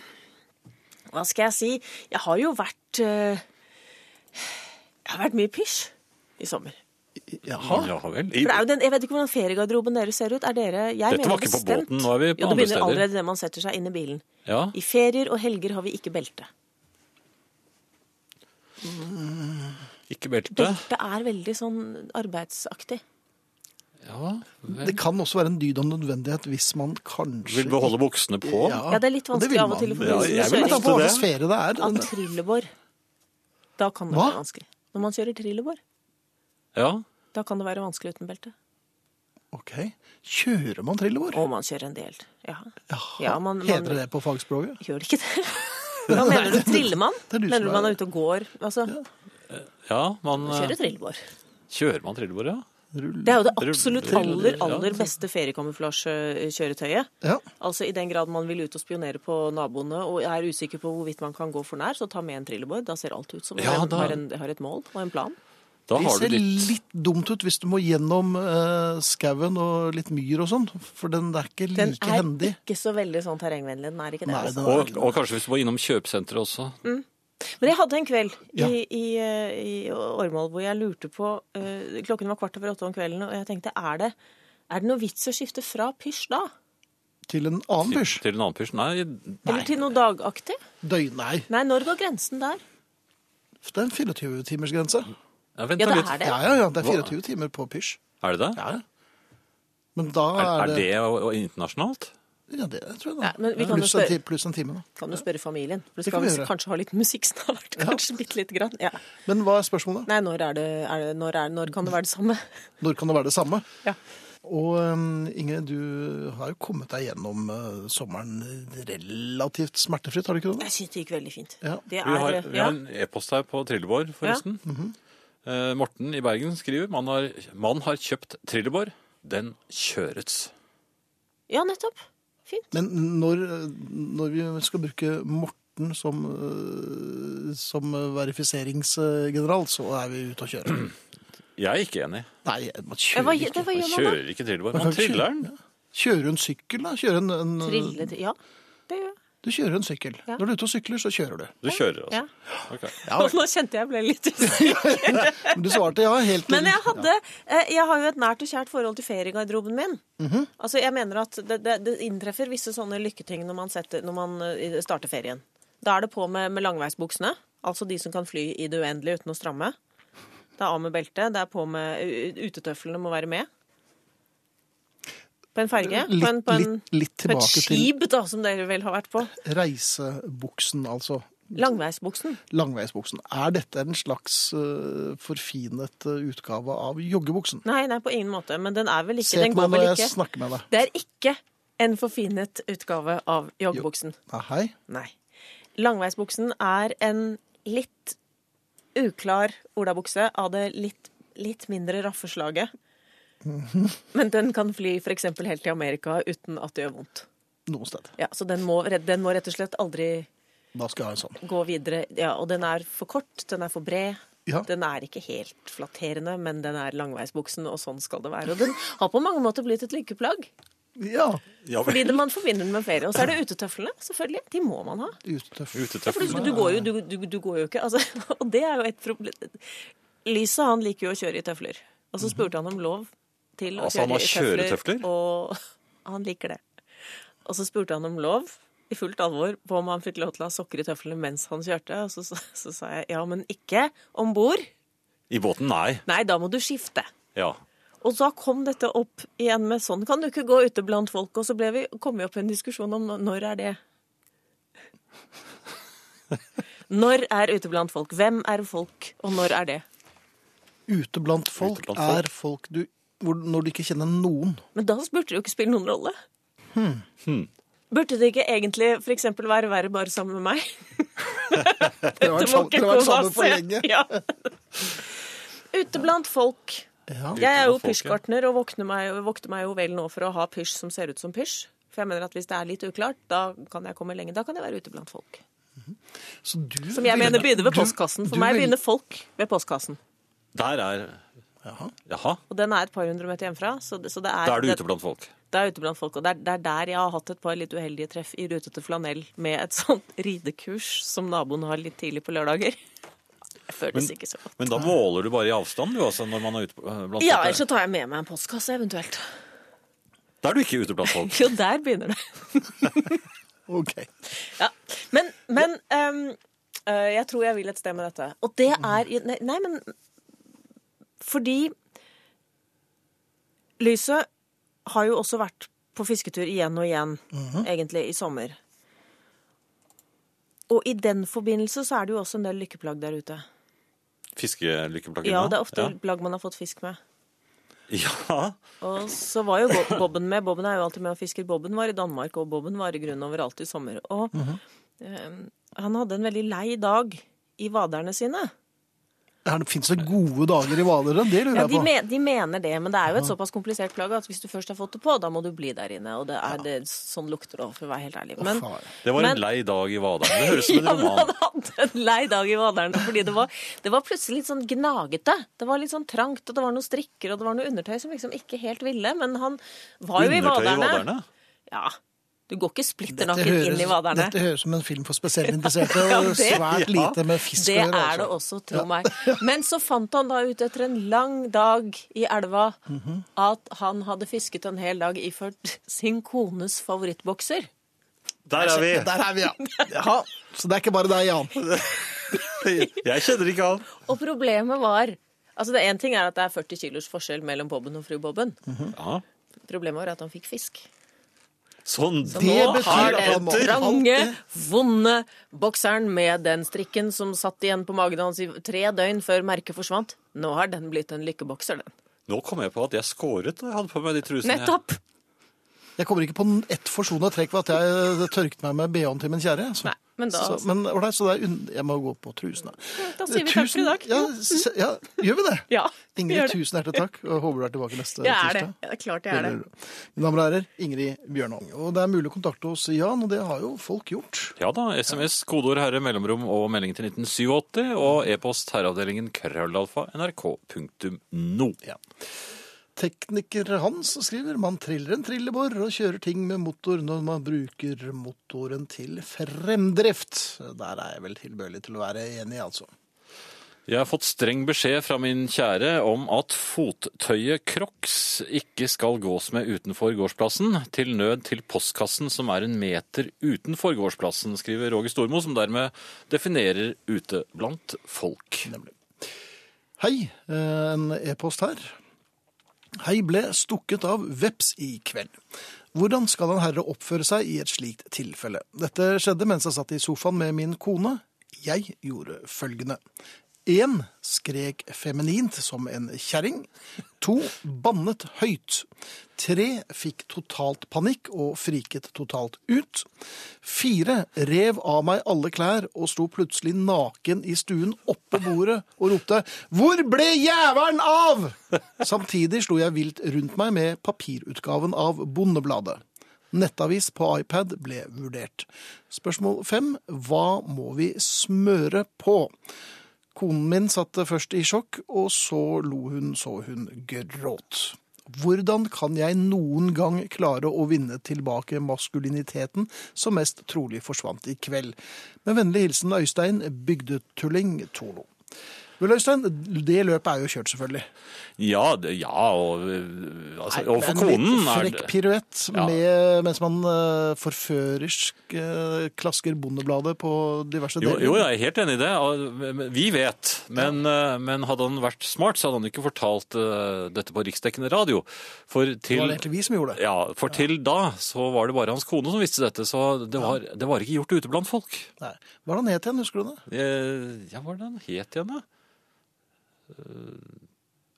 Speaker 3: Hva skal jeg si? Jeg har jo vært eh, Jeg har vært mye pysj i sommer.
Speaker 1: Jaha.
Speaker 2: Ja vel.
Speaker 3: For det er jo den, jeg vet ikke hvordan feriegarderoben deres ser ut. Er dere, jeg
Speaker 2: Dette
Speaker 3: mener
Speaker 2: var ikke på
Speaker 3: bestemt-
Speaker 2: båten, nå er vi på
Speaker 3: jo,
Speaker 2: andre
Speaker 3: Det
Speaker 2: steder.
Speaker 3: begynner allerede det man setter seg inn i bilen.
Speaker 2: ja.
Speaker 3: I ferier og helger har vi ikke belte.
Speaker 2: Ikke belte.
Speaker 3: Belte er veldig sånn arbeidsaktig.
Speaker 2: Ja.
Speaker 1: Det kan også være en dyd om nødvendighet hvis man kanskje
Speaker 2: Vil beholde buksene på.
Speaker 3: Ja, det er litt
Speaker 1: og det
Speaker 3: vanskelig
Speaker 1: vil
Speaker 3: av og til i
Speaker 1: man.
Speaker 2: Ja, jeg
Speaker 3: forbindelse med
Speaker 2: vil
Speaker 1: Men ta på
Speaker 3: kjøring
Speaker 1: hva
Speaker 2: det.
Speaker 1: slags ferie det er.
Speaker 2: Altså-
Speaker 3: av trillebår. Da kan det
Speaker 1: Hva?
Speaker 3: være vanskelig. Når man kjører trillebår,
Speaker 2: Ja.
Speaker 3: da kan det være vanskelig uten belte.
Speaker 1: Ok. Kjører man trillebår?
Speaker 3: Og man kjører en del. Ja,
Speaker 1: Jaha.
Speaker 3: ja man, man
Speaker 1: Heter det det på fagspråket?
Speaker 3: gjør det ikke det. Hva mener du? Trillemann?
Speaker 1: det er du som
Speaker 3: Mener du
Speaker 1: er-
Speaker 3: man er ute og går? Altså,
Speaker 2: ja man eh,
Speaker 3: kjører trillebår.
Speaker 2: Kjører man trillebår, ja?
Speaker 1: Mm.
Speaker 3: Det er jo det absolutt
Speaker 2: Ruller,
Speaker 3: aller,
Speaker 2: ja.
Speaker 3: aller beste feriekamuflasjekjøretøyet.
Speaker 1: Ja.
Speaker 3: Altså I den grad man vil ut og spionere på naboene og er usikker på hvorvidt man kan gå for nær, så ta med en trillebår. Da ser alt ut som
Speaker 2: Ja,
Speaker 3: man
Speaker 2: da-
Speaker 3: har, en, har et mål og en plan.
Speaker 2: Da
Speaker 1: Det
Speaker 2: har du
Speaker 1: ser
Speaker 2: litt
Speaker 1: litt dumt ut hvis du må gjennom eh, skauen og litt myr og sånn, for den er ikke like
Speaker 3: Den er
Speaker 1: hendig.
Speaker 3: ikke så veldig sånn terrengvennlig. Den er ikke det.
Speaker 1: Nei,
Speaker 3: altså.
Speaker 1: den er
Speaker 2: og,
Speaker 1: ikke
Speaker 2: og kanskje hvis du må innom kjøpesenteret også.
Speaker 3: Mm. Men jeg hadde en kveld
Speaker 1: Ja.
Speaker 3: i, i, eh, i Ormål hvor jeg lurte på eh, Klokken var kvart over åtte om kvelden, og jeg tenkte er det, er det noe vits å skifte fra pysj da?
Speaker 1: til en annen
Speaker 2: Til,
Speaker 1: pysj.
Speaker 2: til en annen pysj. Nei,
Speaker 3: Eller til noe dagaktig?
Speaker 1: Døgn, nei.
Speaker 3: Nei, når går grensen der?
Speaker 1: Det er en 24-timersgrense.
Speaker 2: ja, vent
Speaker 3: Ja,
Speaker 2: da
Speaker 3: det
Speaker 2: litt.
Speaker 3: er det.
Speaker 1: Ja, ja, ja. Det er
Speaker 2: Hva-
Speaker 1: 24 timer på pysj.
Speaker 2: Er det det?
Speaker 1: Ja. Men da
Speaker 2: Er,
Speaker 1: er,
Speaker 2: er det og- og internasjonalt?
Speaker 1: Ja, det tror jeg.
Speaker 3: Ja,
Speaker 1: da.
Speaker 3: men vi kan jo
Speaker 1: pluss, en
Speaker 3: spørre-
Speaker 1: ti, pluss en time, da.
Speaker 3: Kan du spørre familien? For du
Speaker 1: Det
Speaker 3: skal
Speaker 1: kan vi
Speaker 3: vel
Speaker 1: gjøre.
Speaker 3: kanskje ha litt musikk snart? Kanskje bitte lite grann? Ja.
Speaker 1: Men hva er spørsmålet?
Speaker 3: Nei, når, er det, er det, når, er, når kan det være det samme?
Speaker 1: Når kan det være det samme?
Speaker 3: Ja.
Speaker 1: Og um, Ingrid, du har jo kommet deg gjennom eh, sommeren relativt smertefritt, har du ikke det?
Speaker 3: Jeg syns det gikk veldig fint.
Speaker 1: Ja.
Speaker 2: Vi
Speaker 3: Det er,
Speaker 2: har, vi
Speaker 3: ja.
Speaker 2: har en e-post her på Trillebår, forresten.
Speaker 1: Mhm.
Speaker 2: Eh, Morten i Bergen skriver man har, man har kjøpt Trillebår, den kjørets.
Speaker 3: ja, nettopp. Fint.
Speaker 1: Men når, uh, når vi skal bruke Morten som, eh, som verifiseringsgeneral, så er vi ute og kjører.
Speaker 2: Jeg er ikke enig.
Speaker 1: Nei, man
Speaker 3: Ja, Hva,
Speaker 1: kjører ikke.
Speaker 3: det, hva
Speaker 2: Man
Speaker 3: gjør man da?
Speaker 2: kjører ikke Trillebår. Man
Speaker 1: kan ikke
Speaker 2: triller
Speaker 1: kjøre-
Speaker 2: den.
Speaker 1: Kjører en sykkel, da? Kjører en, en,
Speaker 3: Trille til Ja, det gjør jeg.
Speaker 1: Du kjører en sykkel.
Speaker 3: Ja.
Speaker 1: Når du er ute og sykler, så kjører du.
Speaker 2: Du kjører, altså.
Speaker 3: Ja.
Speaker 2: Ok.
Speaker 1: Ja,
Speaker 3: Nå kjente jeg ble litt usikker.
Speaker 1: men du svarte ja helt til-
Speaker 3: Men jeg hadde eh, Jeg har jo et nært og kjært forhold til feriegarderoben min.
Speaker 1: Mhm.
Speaker 3: Altså, jeg mener at det, det, det inntreffer visse sånne lykketing når man, setter, når man eh, starter ferien. Da er det på med, med langveisbuksene. Altså de som kan fly i det uendelige uten å stramme. Det er av med beltet. Det er på med u- Utetøflene må være med. På en ferge.
Speaker 1: Litt,
Speaker 3: på en, på en,
Speaker 1: litt, litt
Speaker 3: på et
Speaker 1: tilbake til
Speaker 3: skip, da, som dere vel har vært på.
Speaker 1: reisebuksen, altså.
Speaker 3: Langveisbuksen.
Speaker 1: Langveisbuksen. Er dette en slags eh, forfinet eh, utgave av joggebuksen?
Speaker 3: Nei, nei, på ingen måte. Men den er vel ikke
Speaker 1: Se
Speaker 3: Den
Speaker 1: på
Speaker 3: går
Speaker 1: meg når
Speaker 3: vel
Speaker 1: jeg
Speaker 3: ikke
Speaker 1: snakker med deg.
Speaker 3: Det er ikke en forfinet utgave av joggebuksen.
Speaker 1: Nei, hei.
Speaker 3: Nei. Langveisbuksen er en litt uklar olabukse av det litt, litt mindre raffe slaget. Men den kan fly f.eks. helt til Amerika uten at det gjør vondt.
Speaker 1: Noe sted.
Speaker 3: Ja, så den må, redd- den må rett og slett aldri
Speaker 1: Da skal jeg ha en sånn.
Speaker 3: gå videre. Ja, og den er for kort, den er for bred.
Speaker 1: Ja.
Speaker 3: Den er ikke helt flatterende, men den er langveisbuksen, og sånn skal det være. Og den har på mange måter blitt et lykkeplagg.
Speaker 1: Ja.
Speaker 2: Ja, vel.
Speaker 3: Fordi det man forbinder den med ferie. Og så er det utetøflene, selvfølgelig. De må man ha.
Speaker 1: Utetøff.
Speaker 3: Ja, for
Speaker 2: Utetøff.
Speaker 3: du, du, går jo, du, du, du går jo ikke altså, Og det er jo et problem. Lise han liker jo å kjøre i tøfler. Og så spurte han om lov til å
Speaker 2: Altså, han
Speaker 3: kjøre i
Speaker 2: har
Speaker 3: tøfler.
Speaker 2: kjøretøfler?
Speaker 3: Og han liker det. Og så spurte han om lov i fullt alvor på om han fikk lov til å ha sokker i tøflene mens han kjørte. Og så, så, så sa jeg ja, men ikke om bord.
Speaker 2: I båten, nei.
Speaker 3: Nei, da må du skifte.
Speaker 2: Ja.
Speaker 3: Og da kom dette opp igjen med sånn kan du ikke gå ute blant folk. Og så ble vi, kom vi opp i en diskusjon om når er det? Når er ute blant folk? Hvem er folk, og når er det?
Speaker 1: Ute blant folk
Speaker 2: Ute blant folk.
Speaker 1: er folk du hvor, Når du ikke kjenner noen.
Speaker 3: Men da burde det jo ikke spille noen rolle. Burde det ikke egentlig for eksempel være verre bare sammen med meg?
Speaker 1: Dere har
Speaker 3: Det
Speaker 1: vært
Speaker 3: må
Speaker 1: sammen,
Speaker 3: ikke
Speaker 1: dere har vært
Speaker 3: gå
Speaker 1: sammen for
Speaker 3: masse.
Speaker 1: lenge.
Speaker 3: Ja. Ute blant folk.
Speaker 1: Ja.
Speaker 3: Jeg er jo
Speaker 2: blant folk, ja.
Speaker 3: pysjgartner og våkner meg, vokter meg jo vel nå for å ha pysj som ser ut som pysj. For jeg mener at hvis det er litt uklart, da kan jeg komme lenge. Da kan jeg være ute blant folk.
Speaker 1: Så du
Speaker 3: Som jeg mener begynner ved
Speaker 1: du-
Speaker 3: postkassen. For
Speaker 1: du
Speaker 3: meg
Speaker 1: vel-
Speaker 3: begynner folk ved postkassen.
Speaker 2: Der er
Speaker 1: Jaha.
Speaker 2: Jaha.
Speaker 3: Og den er et par hundre meter hjemmefra. Så det, så det er,
Speaker 2: Da er du
Speaker 3: det-
Speaker 2: ute blant folk.
Speaker 3: Da er jeg ute blant folk. Og det er, det er der jeg har hatt et par litt uheldige treff i rutete flanell med et sånt ridekurs som naboen har litt tidlig på lørdager. Jeg føles ikke så godt.
Speaker 4: Men da måler du bare i avstand, du, altså, når man er ute på- blant
Speaker 3: Ja, altså-
Speaker 4: folk.
Speaker 3: ellers så tar jeg med meg en postkasse eventuelt.
Speaker 4: Da er du ikke ute blant folk.
Speaker 3: Jo, der begynner det.
Speaker 1: Ok.
Speaker 3: Ja. Men, men ehm, øh, jeg tror jeg vil et sted med dette. Og det er i- Nei, nei men Fordi Lyset har jo også vært på fisketur igjen og igjen, egentlig, i sommer. Og i den forbindelse så er det jo også en del lykkeplagg der ute.
Speaker 4: Fiskelykkeplagene.
Speaker 3: Ja, det er ofte plagg man har fått fisk med.
Speaker 4: Ja. ja.
Speaker 3: Og så var jo Bob- Bobben med. Bobben er jo alltid med og fisker. Bobben var i Danmark, og Bobben var i grunnen overalt i sommer. Og eh, han hadde en veldig lei dag i vaderne sine.
Speaker 1: Fins det gode dager i Hvalere? Det lurer
Speaker 3: Ja,
Speaker 1: jeg
Speaker 3: de,
Speaker 1: på.
Speaker 3: me de mener det, men det er jo et såpass komplisert plagg at hvis du først har fått det på, da må du bli der inne. Og det er det, sånn lukter det òg, for å være helt ærlig. Men,
Speaker 1: Faen.
Speaker 4: Det var
Speaker 3: Men-
Speaker 4: en lei dag i Vadalen. Det høres ut som en
Speaker 3: ja, men han
Speaker 4: roman.
Speaker 3: hadde en lei dag i vaderne, fordi det var, det var plutselig litt sånn gnagete. Det var litt sånn trangt, og det var noen strikker, og det var noe undertøy som liksom ikke helt ville, men han var jo i
Speaker 4: Undertøy i
Speaker 3: vaderne.
Speaker 4: Vaderne?
Speaker 3: Ja. Du går ikke splitter
Speaker 1: Dette
Speaker 3: naken inn i
Speaker 1: høres,
Speaker 3: vaderne.
Speaker 1: dette høres som en film for spesielt interesserte, og
Speaker 3: det-
Speaker 1: svært lite med fisk å
Speaker 3: Det
Speaker 1: gjøre.
Speaker 3: er det
Speaker 1: altså.
Speaker 3: også, tro meg. Men så fant han da ut etter en lang dag i elva at han hadde fisket en hel dag iført sin kones favorittbokser.
Speaker 4: Der er vi!
Speaker 1: Der er vi, ja. Jaha, Så det er ikke bare deg, Jan.
Speaker 4: Jeg kjenner ikke han.
Speaker 3: Og problemet var Altså det Én ting er at det er 40 kilos forskjell mellom Bobben og fru Bobben.
Speaker 4: Ja.
Speaker 3: Problemet var at han fikk fisk.
Speaker 4: Sånn
Speaker 1: Det
Speaker 3: Nå har
Speaker 1: betyr at han
Speaker 3: den
Speaker 1: må
Speaker 3: trange, vonde bokseren med den strikken som satt igjen på magen hans i tre døgn før merket forsvant, nå har den blitt en lykkebokser, den.
Speaker 4: Nå kom jeg på at jeg skåret da jeg hadde på meg de trusene. jeg-
Speaker 3: Nettopp!
Speaker 1: Jeg kommer ikke på n- ett forsona trekk ved at jeg tørket meg med BH-en til min kjære. Så,
Speaker 3: Nei, men da- altså.
Speaker 1: så, men, ålreit, så det er unn... Jeg må gå på trusene.
Speaker 3: Da sier vi takk for i dag.
Speaker 1: Ja, s- ja, gjør vi det?
Speaker 3: Ja, vi gjør
Speaker 1: Ingrid,
Speaker 3: det.
Speaker 1: tusen hjertelig takk. og Håper du er tilbake neste
Speaker 3: Jeg er det.
Speaker 1: tirsdag.
Speaker 3: Ja, det er klart jeg er det.
Speaker 1: Mine damer og herrer, Ingrid Bjørnholm. Og det er mulig å kontakte oss, Jan, og det har jo folk gjort.
Speaker 2: Ja da, SMS, kodeord herre, mellomrom og melding til 1987, og e-post herreavdelingen krøllalfa nrk.no.
Speaker 1: Tekniker Hans skriver man triller en trillebår og kjører ting med motor når man bruker motoren til fremdrift. Der er jeg vel tilbøyelig til å være enig, altså.
Speaker 2: Jeg har fått streng beskjed fra min kjære om at fottøyet Crocs ikke skal gås med utenfor gårdsplassen, til nød til postkassen som er en meter utenfor gårdsplassen, skriver Roger Stormo, som dermed definerer ute blant folk.
Speaker 1: Hei, eh, en e-post her. Hei ble stukket av veps i kveld. Hvordan skal en herre oppføre seg i et slikt tilfelle? Dette skjedde mens jeg satt i sofaen med min kone. Jeg gjorde følgende. 1. Skrek feminint som en kjerring. 2. Bannet høyt. 3. Fikk totalt panikk og friket totalt ut. 4. Rev av meg alle klær og sto plutselig naken i stuen oppå bordet og ropte 'Hvor ble jævelen av?' Samtidig slo jeg vilt rundt meg med papirutgaven av Bondebladet. Nettavis på iPad ble vurdert. Spørsmål 5. Hva må vi smøre på? Konen min satt først i sjokk, og så lo hun så hun gråt. Hvordan kan jeg noen gang klare å vinne tilbake maskuliniteten som mest trolig forsvant i kveld? Med vennlig hilsen Øystein, bygdetulling Tolo. Vel, Øystein, det løpet er jo kjørt, selvfølgelig.
Speaker 2: Ja, det- ja og, øh, altså, og
Speaker 1: Det er
Speaker 2: for
Speaker 1: en litt
Speaker 2: konen er
Speaker 1: Frekk
Speaker 2: det
Speaker 1: piruett
Speaker 2: Ja.
Speaker 1: med, mens man eh, forførersk eh, klasker Bondebladet på diverse
Speaker 2: jo,
Speaker 1: deler.
Speaker 2: jo, jeg er helt enig i det. og Vi vet. Men, eh, men hadde han vært smart, så hadde han ikke fortalt eh, dette på riksdekkende radio. For
Speaker 1: Det var
Speaker 2: til,
Speaker 1: egentlig vi som gjorde det.
Speaker 2: ja, for til da så var det bare hans kone som visste dette, så det var, det var ikke gjort ute blant folk.
Speaker 1: Nei. Hva var det han het igjen, husker du det?
Speaker 2: Eh, Ja, hva var det han het igjen, da?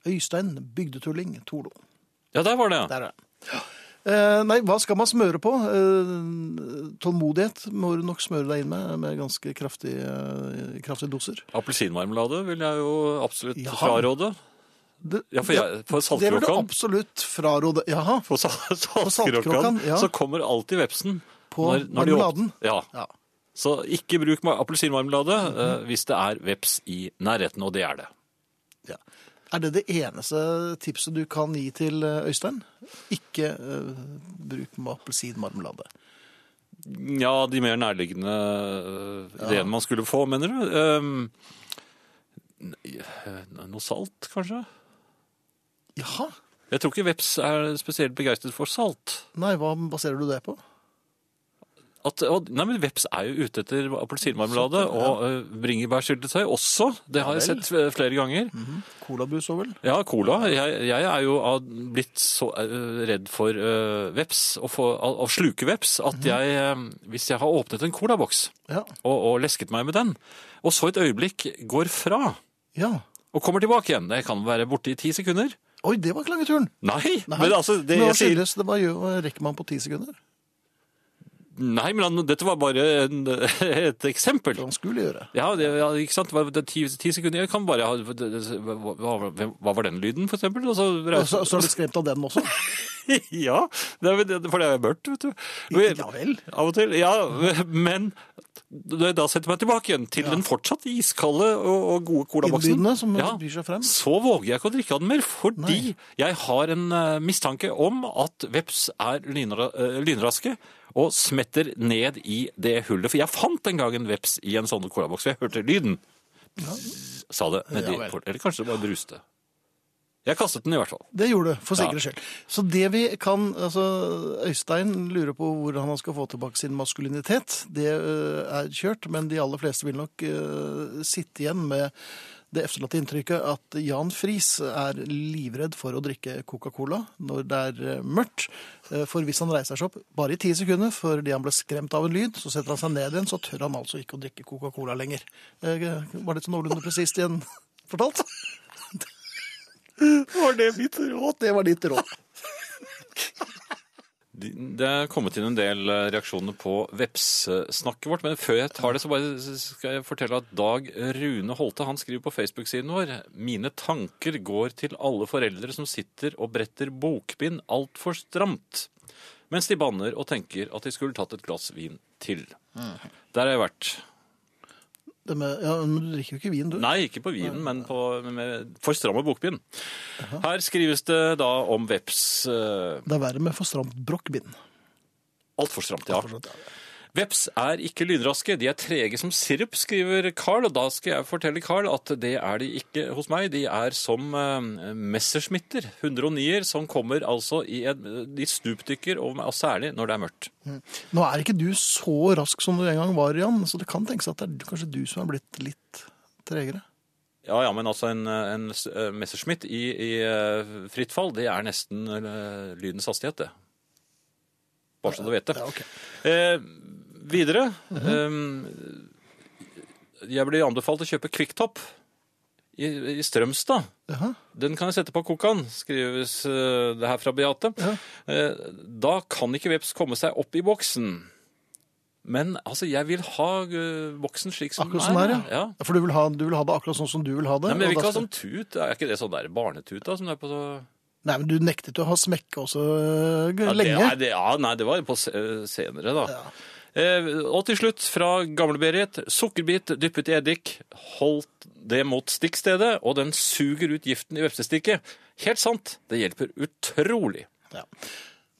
Speaker 1: Øystein Bygdetulling Tolo.
Speaker 2: Ja, der var det. ja.
Speaker 1: Der er det. Eh, nei, hva skal man smøre på? Eh, tålmodighet må du nok smøre deg inn med, med ganske kraftige, eh, kraftige doser.
Speaker 2: Appelsinmarmelade vil jeg jo absolutt
Speaker 1: Jaha.
Speaker 2: fraråde.
Speaker 1: Det-
Speaker 2: Ja, for, jeg, for
Speaker 1: Det vil du
Speaker 2: saltkråkan
Speaker 1: absolutt fraråde. Jaha.
Speaker 2: På sal- saltkråkan
Speaker 1: saltkråkan, ja.
Speaker 2: så kommer alltid vepsen.
Speaker 1: På
Speaker 2: de åp-
Speaker 1: marmeladen.
Speaker 2: Ja.
Speaker 1: Ja.
Speaker 2: Så ikke bruk ma- appelsinmarmelade
Speaker 1: Mhm.
Speaker 2: eh, hvis det er veps i nærheten, og det er det.
Speaker 1: Ja. Er det det eneste tipset du kan gi til eh, Øystein? Ikke eh, bruk med appelsinmarmelade.
Speaker 2: Ja, de mer nærliggende eh, ideene man skulle få, mener du? Ehm, Noe salt, kanskje?
Speaker 1: Jaha.
Speaker 2: Jeg tror ikke veps er spesielt begeistret for salt.
Speaker 1: Nei, hva baserer du det på?
Speaker 2: At, og, nei, men Veps er jo ute etter appelsinmarmelade og uh, bringebærsyltetøy også. Det har jeg
Speaker 1: Ja vel.
Speaker 2: sett eh, flere ganger.
Speaker 1: Colabus og vel?
Speaker 2: Ja, cola. Jeg, jeg er jo av- blitt så eh, redd for eh, veps, og for, av, av slukeveps, at jeg, eh, hvis jeg har åpnet en colaboks
Speaker 1: Ja.
Speaker 2: og, og lesket meg med den, og så et øyeblikk går fra
Speaker 1: ja.
Speaker 2: og kommer tilbake igjen, jeg kan være borte i ti sekunder.
Speaker 1: Oi, det var ikke lange turen.
Speaker 2: Nei!
Speaker 1: Nei.
Speaker 4: Men altså, det
Speaker 1: Men
Speaker 4: jeg
Speaker 1: hva
Speaker 4: sier
Speaker 1: skyldes det? Hva gjør, hva rekker man på ti sekunder?
Speaker 2: Nei, men han- dette var bare en, et eksempel.
Speaker 1: Hva man skulle gjøre?
Speaker 2: Ja, det, ja ikke sant? Hva- det- Ti, ti sekunder, jeg kan bare ha hva, hva- hva var den lyden, for eksempel? Og så,
Speaker 1: Og Så, så er du skremt av den også?
Speaker 2: ja, det er, vel- for det er jo mørkt, vet du.
Speaker 1: Ja vel.
Speaker 2: Av og til, ja. Men når jeg da setter meg tilbake igjen til den fortsatt iskalde og, og gode colaboksen,
Speaker 1: Innbydende som
Speaker 2: Ja.
Speaker 1: byr seg frem?
Speaker 2: så våger jeg ikke å drikke av den mer, fordi
Speaker 1: Nei.
Speaker 2: jeg har en eh, mistanke om at veps er lynra, eh, lynraske og smetter ned i det hullet. For jeg fant en gang en veps i en sånn colaboks, for jeg hørte lyden. Pss, Sa det nedi
Speaker 1: Ja vel.
Speaker 2: port. Eller kanskje det bare bruste. Jeg kastet den i hvert fall.
Speaker 1: Det gjorde du, for
Speaker 2: Ja.
Speaker 1: sikkerhets skyld. Så det vi kan altså, Øystein lurer på hvordan han skal få tilbake sin maskulinitet. Det øh, er kjørt, men de aller fleste vil nok øh, sitte igjen med det efterlatte inntrykket at Jan Friis er livredd for å drikke Coca-Cola når det er øh, mørkt. Eh, For hvis han reiser seg opp bare i ti sekunder fordi han ble skremt av en lyd, så setter han seg ned igjen, så tør han altså ikke å drikke Coca-Cola lenger. Eh, Var det så noenlunde presist igjen fortalt?
Speaker 4: var det mitt råd.
Speaker 1: Det var ditt råd.
Speaker 2: De- Det er kommet inn en del eh, reaksjoner på vepssnakket vårt, men før jeg tar det, så bare s- skal jeg fortelle at Dag Rune Holte han skriver på Facebook-siden vår mine tanker går til alle foreldre som sitter og bretter bokbind altfor stramt, mens de banner og tenker at de skulle tatt et glass vin til. Der har jeg vært.
Speaker 1: Det med, ja, men du drikker jo ikke vin, du.
Speaker 2: Nei, ikke på vinen, men på, med for stramme bokbind. Her skrives det da om veps. eh,
Speaker 1: Det er verre med for stramt brokkbind.
Speaker 2: Altfor stramt, ja. Veps er ikke lynraske, de er trege som sirup, skriver Carl. Og da skal jeg fortelle Carl at det er de ikke hos meg. De er som uh, messerschmitter, 109-er, som kommer altså i en De stupdykker over meg, og særlig når det er mørkt.
Speaker 1: Nå er ikke du så rask som du en gang var, Jan, så det kan tenkes at det er kanskje du som er blitt litt tregere.
Speaker 2: Ja, ja, men altså en, en s- eh, Messerschmitt i, i eh, fritt fall, det er nesten eh, lydens hastighet, det. Bare så du vet det.
Speaker 1: Ja, ok.
Speaker 2: Eh, videre eh, Jeg blir anbefalt å kjøpe Kvikktopp i, i Strømstad.
Speaker 1: Jaha.
Speaker 2: Den kan jeg sette på kokan, skrives eh, det her fra Beate. Eh, da kan ikke veps komme seg opp i boksen. Men altså, jeg vil ha eh, boksen slik som
Speaker 1: Akkurat sånn der,
Speaker 2: ja.
Speaker 1: ja. For du vil, ha, du vil ha det akkurat sånn som du vil ha det?
Speaker 2: Nei, men jeg vil
Speaker 1: og da
Speaker 2: ikke ha sånn tut. Er ikke det sånn der barnetut da, som det er på så...
Speaker 1: skal- Nei, men du nektet jo å ha smekke også øh,
Speaker 2: Ja, det,
Speaker 1: lenge.
Speaker 2: nei, det, ja, nei, det var på se- eh, senere, da. Eh, og til slutt, fra Gamle-Berit. Sukkerbit dyppet i eddik. Holdt det mot stikkstedet, og den suger ut giften i vepsestikket. Helt sant. Det hjelper utrolig.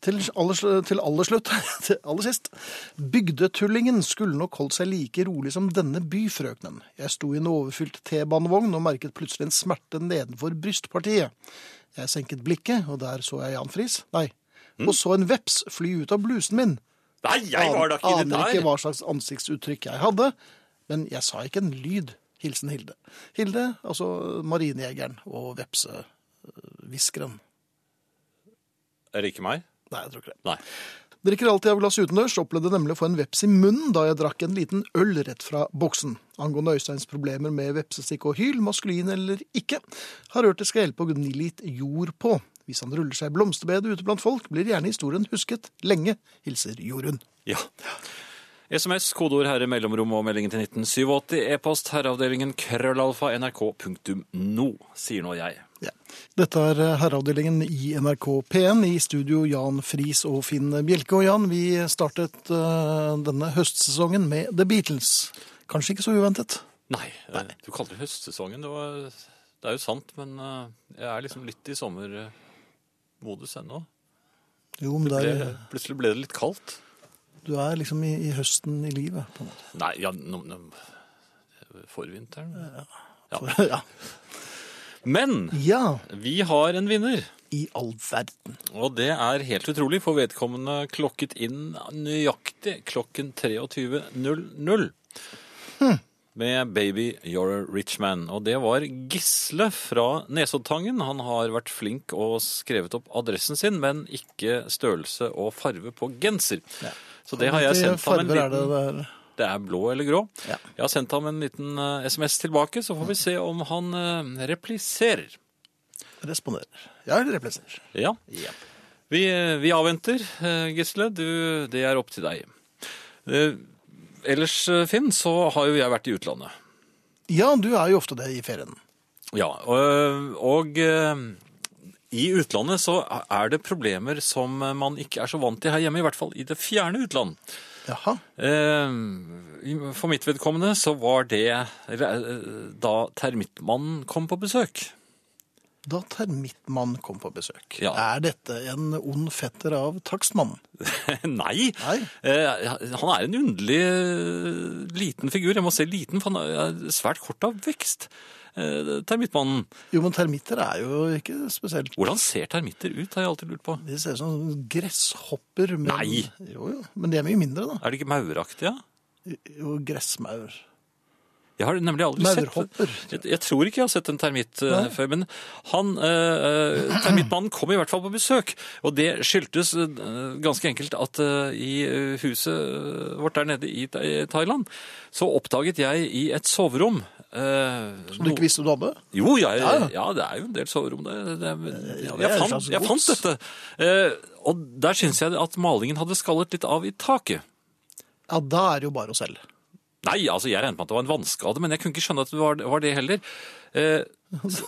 Speaker 1: Til aller, sl- til aller slutt, til aller sist. Bygdetullingen skulle nok holdt seg like rolig som denne byfrøknen. Jeg sto i en overfylt T-banevogn og merket plutselig en smerte nedenfor brystpartiet. Jeg senket blikket, og der så jeg Jan Friis. Nei. Og så en veps fly ut av blusen min.
Speaker 4: Nei, jeg var da ikke Mm. det
Speaker 1: Aner ikke
Speaker 4: der.
Speaker 1: hva slags ansiktsuttrykk jeg hadde, men jeg sa ikke en lyd. Hilsen Hilde. Hilde, altså marinejegeren og vepsehviskeren.
Speaker 2: Er det ikke meg?
Speaker 1: Nei, jeg tror ikke det.
Speaker 2: Nei.
Speaker 1: Drikker alltid av glass utendørs, opplevde nemlig å få en veps i munnen da jeg drakk en liten øl rett fra boksen. Angående Øysteins problemer med vepsestikk og hyl, maskulin eller ikke, har hørt det skal hjelpe å gni litt jord på. Hvis han ruller seg i blomsterbedet ute blant folk, blir gjerne historien husket lenge, hilser Jorunn.
Speaker 2: Ja. SMS, kodeord herre, mellomrom og meldingen til 1987. E-post herreavdelingen krøllalfa nrk.no, sier nå jeg.
Speaker 1: Ja. Dette er eh, herreavdelingen i NRK P1, i studio Jan Friis og Finn Bjelke. Og Jan, vi startet eh, denne høstsesongen med The Beatles. Kanskje ikke så uventet.
Speaker 2: Nei, eh, du kaller det høstsesongen. Det, var, det er jo sant, men eh, jeg er liksom litt i sommermodus ennå.
Speaker 1: Jo, men det er,
Speaker 2: Ble, plutselig ble det litt kaldt.
Speaker 1: du er liksom i, i høsten i livet. på en måte.
Speaker 2: Nei, ja, nå, nå, eh, forvinteren.
Speaker 1: Ja.
Speaker 2: Men
Speaker 1: ja,
Speaker 2: vi har en vinner,
Speaker 1: i all verden.
Speaker 2: og det er helt utrolig, for vedkommende klokket inn nøyaktig klokken 23.00.
Speaker 1: Hm.
Speaker 2: Med Baby You're a Rich Man. Og det var Gisle fra Nesoddtangen. Han har vært flink og skrevet opp adressen sin, men ikke størrelse og farve på genser. Så det har jeg
Speaker 1: Hvilke
Speaker 2: sendt ham en
Speaker 1: farger er
Speaker 2: liten
Speaker 1: det der?
Speaker 2: det er blå eller grå.
Speaker 1: Ja.
Speaker 2: Jeg har sendt ham en liten eh, SMS tilbake, så får vi se om han eh, repliserer.
Speaker 1: Responderer. Ja, eller repliserer.
Speaker 2: Ja. Vi, eh, vi avventer, eh, Gisle. Du, det er opp til deg. Eh, Ellers, eh, Finn, så har jo jeg vært i utlandet.
Speaker 1: Ja, du er jo ofte det i ferien.
Speaker 2: Ja, og, og eh, i utlandet så er det problemer som man ikke er så vant til her hjemme, i hvert fall i det fjerne utland.
Speaker 1: Jaha.
Speaker 2: Eh, For mitt vedkommende så var det eller, eh, da termittmannen kom på besøk.
Speaker 1: Da termittmann kom på besøk.
Speaker 2: Ja.
Speaker 1: Er dette en ond fetter av takstmannen?
Speaker 2: Nei!
Speaker 1: Nei.
Speaker 2: Eh, Han er en underlig eh, liten figur. Jeg må se liten, for han er svært kort av vekst. eh, Termittmannen.
Speaker 1: Jo, men termitter er jo ikke spesielt
Speaker 2: Hvordan ser termitter ut, har jeg alltid lurt på.
Speaker 1: De ser ut som gresshopper. Men...
Speaker 2: Nei.
Speaker 1: Jo, jo. Men de er mye mindre, da.
Speaker 2: Er de ikke mauraktige?
Speaker 1: Jo, gressmaur.
Speaker 2: Jeg har nemlig aldri
Speaker 1: Maurhopper.
Speaker 2: sett jeg, jeg tror ikke jeg har sett en termitt eh, før, men han, eh, eh, termittmannen kom i hvert fall på besøk. Og det skyldtes eh, ganske enkelt at eh, i eh, huset vårt der nede i Tha- i Thailand, så oppdaget jeg i et soverom eh,
Speaker 1: Som du ikke visste du hadde?
Speaker 2: jo, jeg, ja,
Speaker 1: ja.
Speaker 2: det er jo en del soverom der. Det, det,
Speaker 1: Ja, det er
Speaker 2: jeg,
Speaker 1: et
Speaker 2: fant,
Speaker 1: slags
Speaker 2: jeg fant
Speaker 1: gods.
Speaker 2: dette. Eh, og der syns jeg at malingen hadde skallet litt av i taket.
Speaker 1: Ja, da er det jo bare oss selv.
Speaker 2: Nei, altså jeg regnet med at det var en vannskade, men jeg kunne ikke skjønne at det var, var det heller. Eh,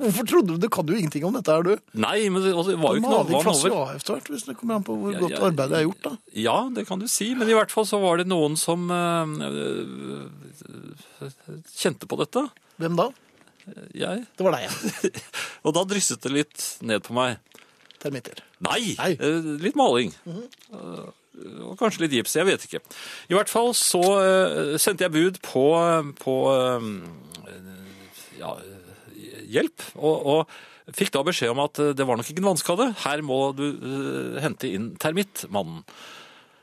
Speaker 1: Hvorfor trodde du det? Kan jo ingenting om dette, er du?
Speaker 2: nei, men det, altså, det var jo ikke noe
Speaker 1: Maling
Speaker 2: vann
Speaker 1: flasser
Speaker 2: over.
Speaker 1: jo av etter hvert, hvis det kommer an på hvor
Speaker 2: Ja,
Speaker 1: godt
Speaker 2: ja,
Speaker 1: arbeid det er gjort, da.
Speaker 2: Ja, det kan du si, men i hvert fall så var det noen som eh, eh, kjente på dette.
Speaker 1: Hvem da?
Speaker 2: Jeg.
Speaker 1: Det var deg, ja.
Speaker 2: Og da drysset det litt ned på meg.
Speaker 1: Termitter.
Speaker 2: Nei,
Speaker 1: Nei.
Speaker 2: eh, litt maling. Eh, og kanskje litt gips, jeg vet ikke. I hvert fall så eh, sendte jeg bud på, på eh, ja, eh, hjelp, og, og fikk da beskjed om at eh, det var nok ikke en vannskade. Her må du eh, hente inn termittmannen.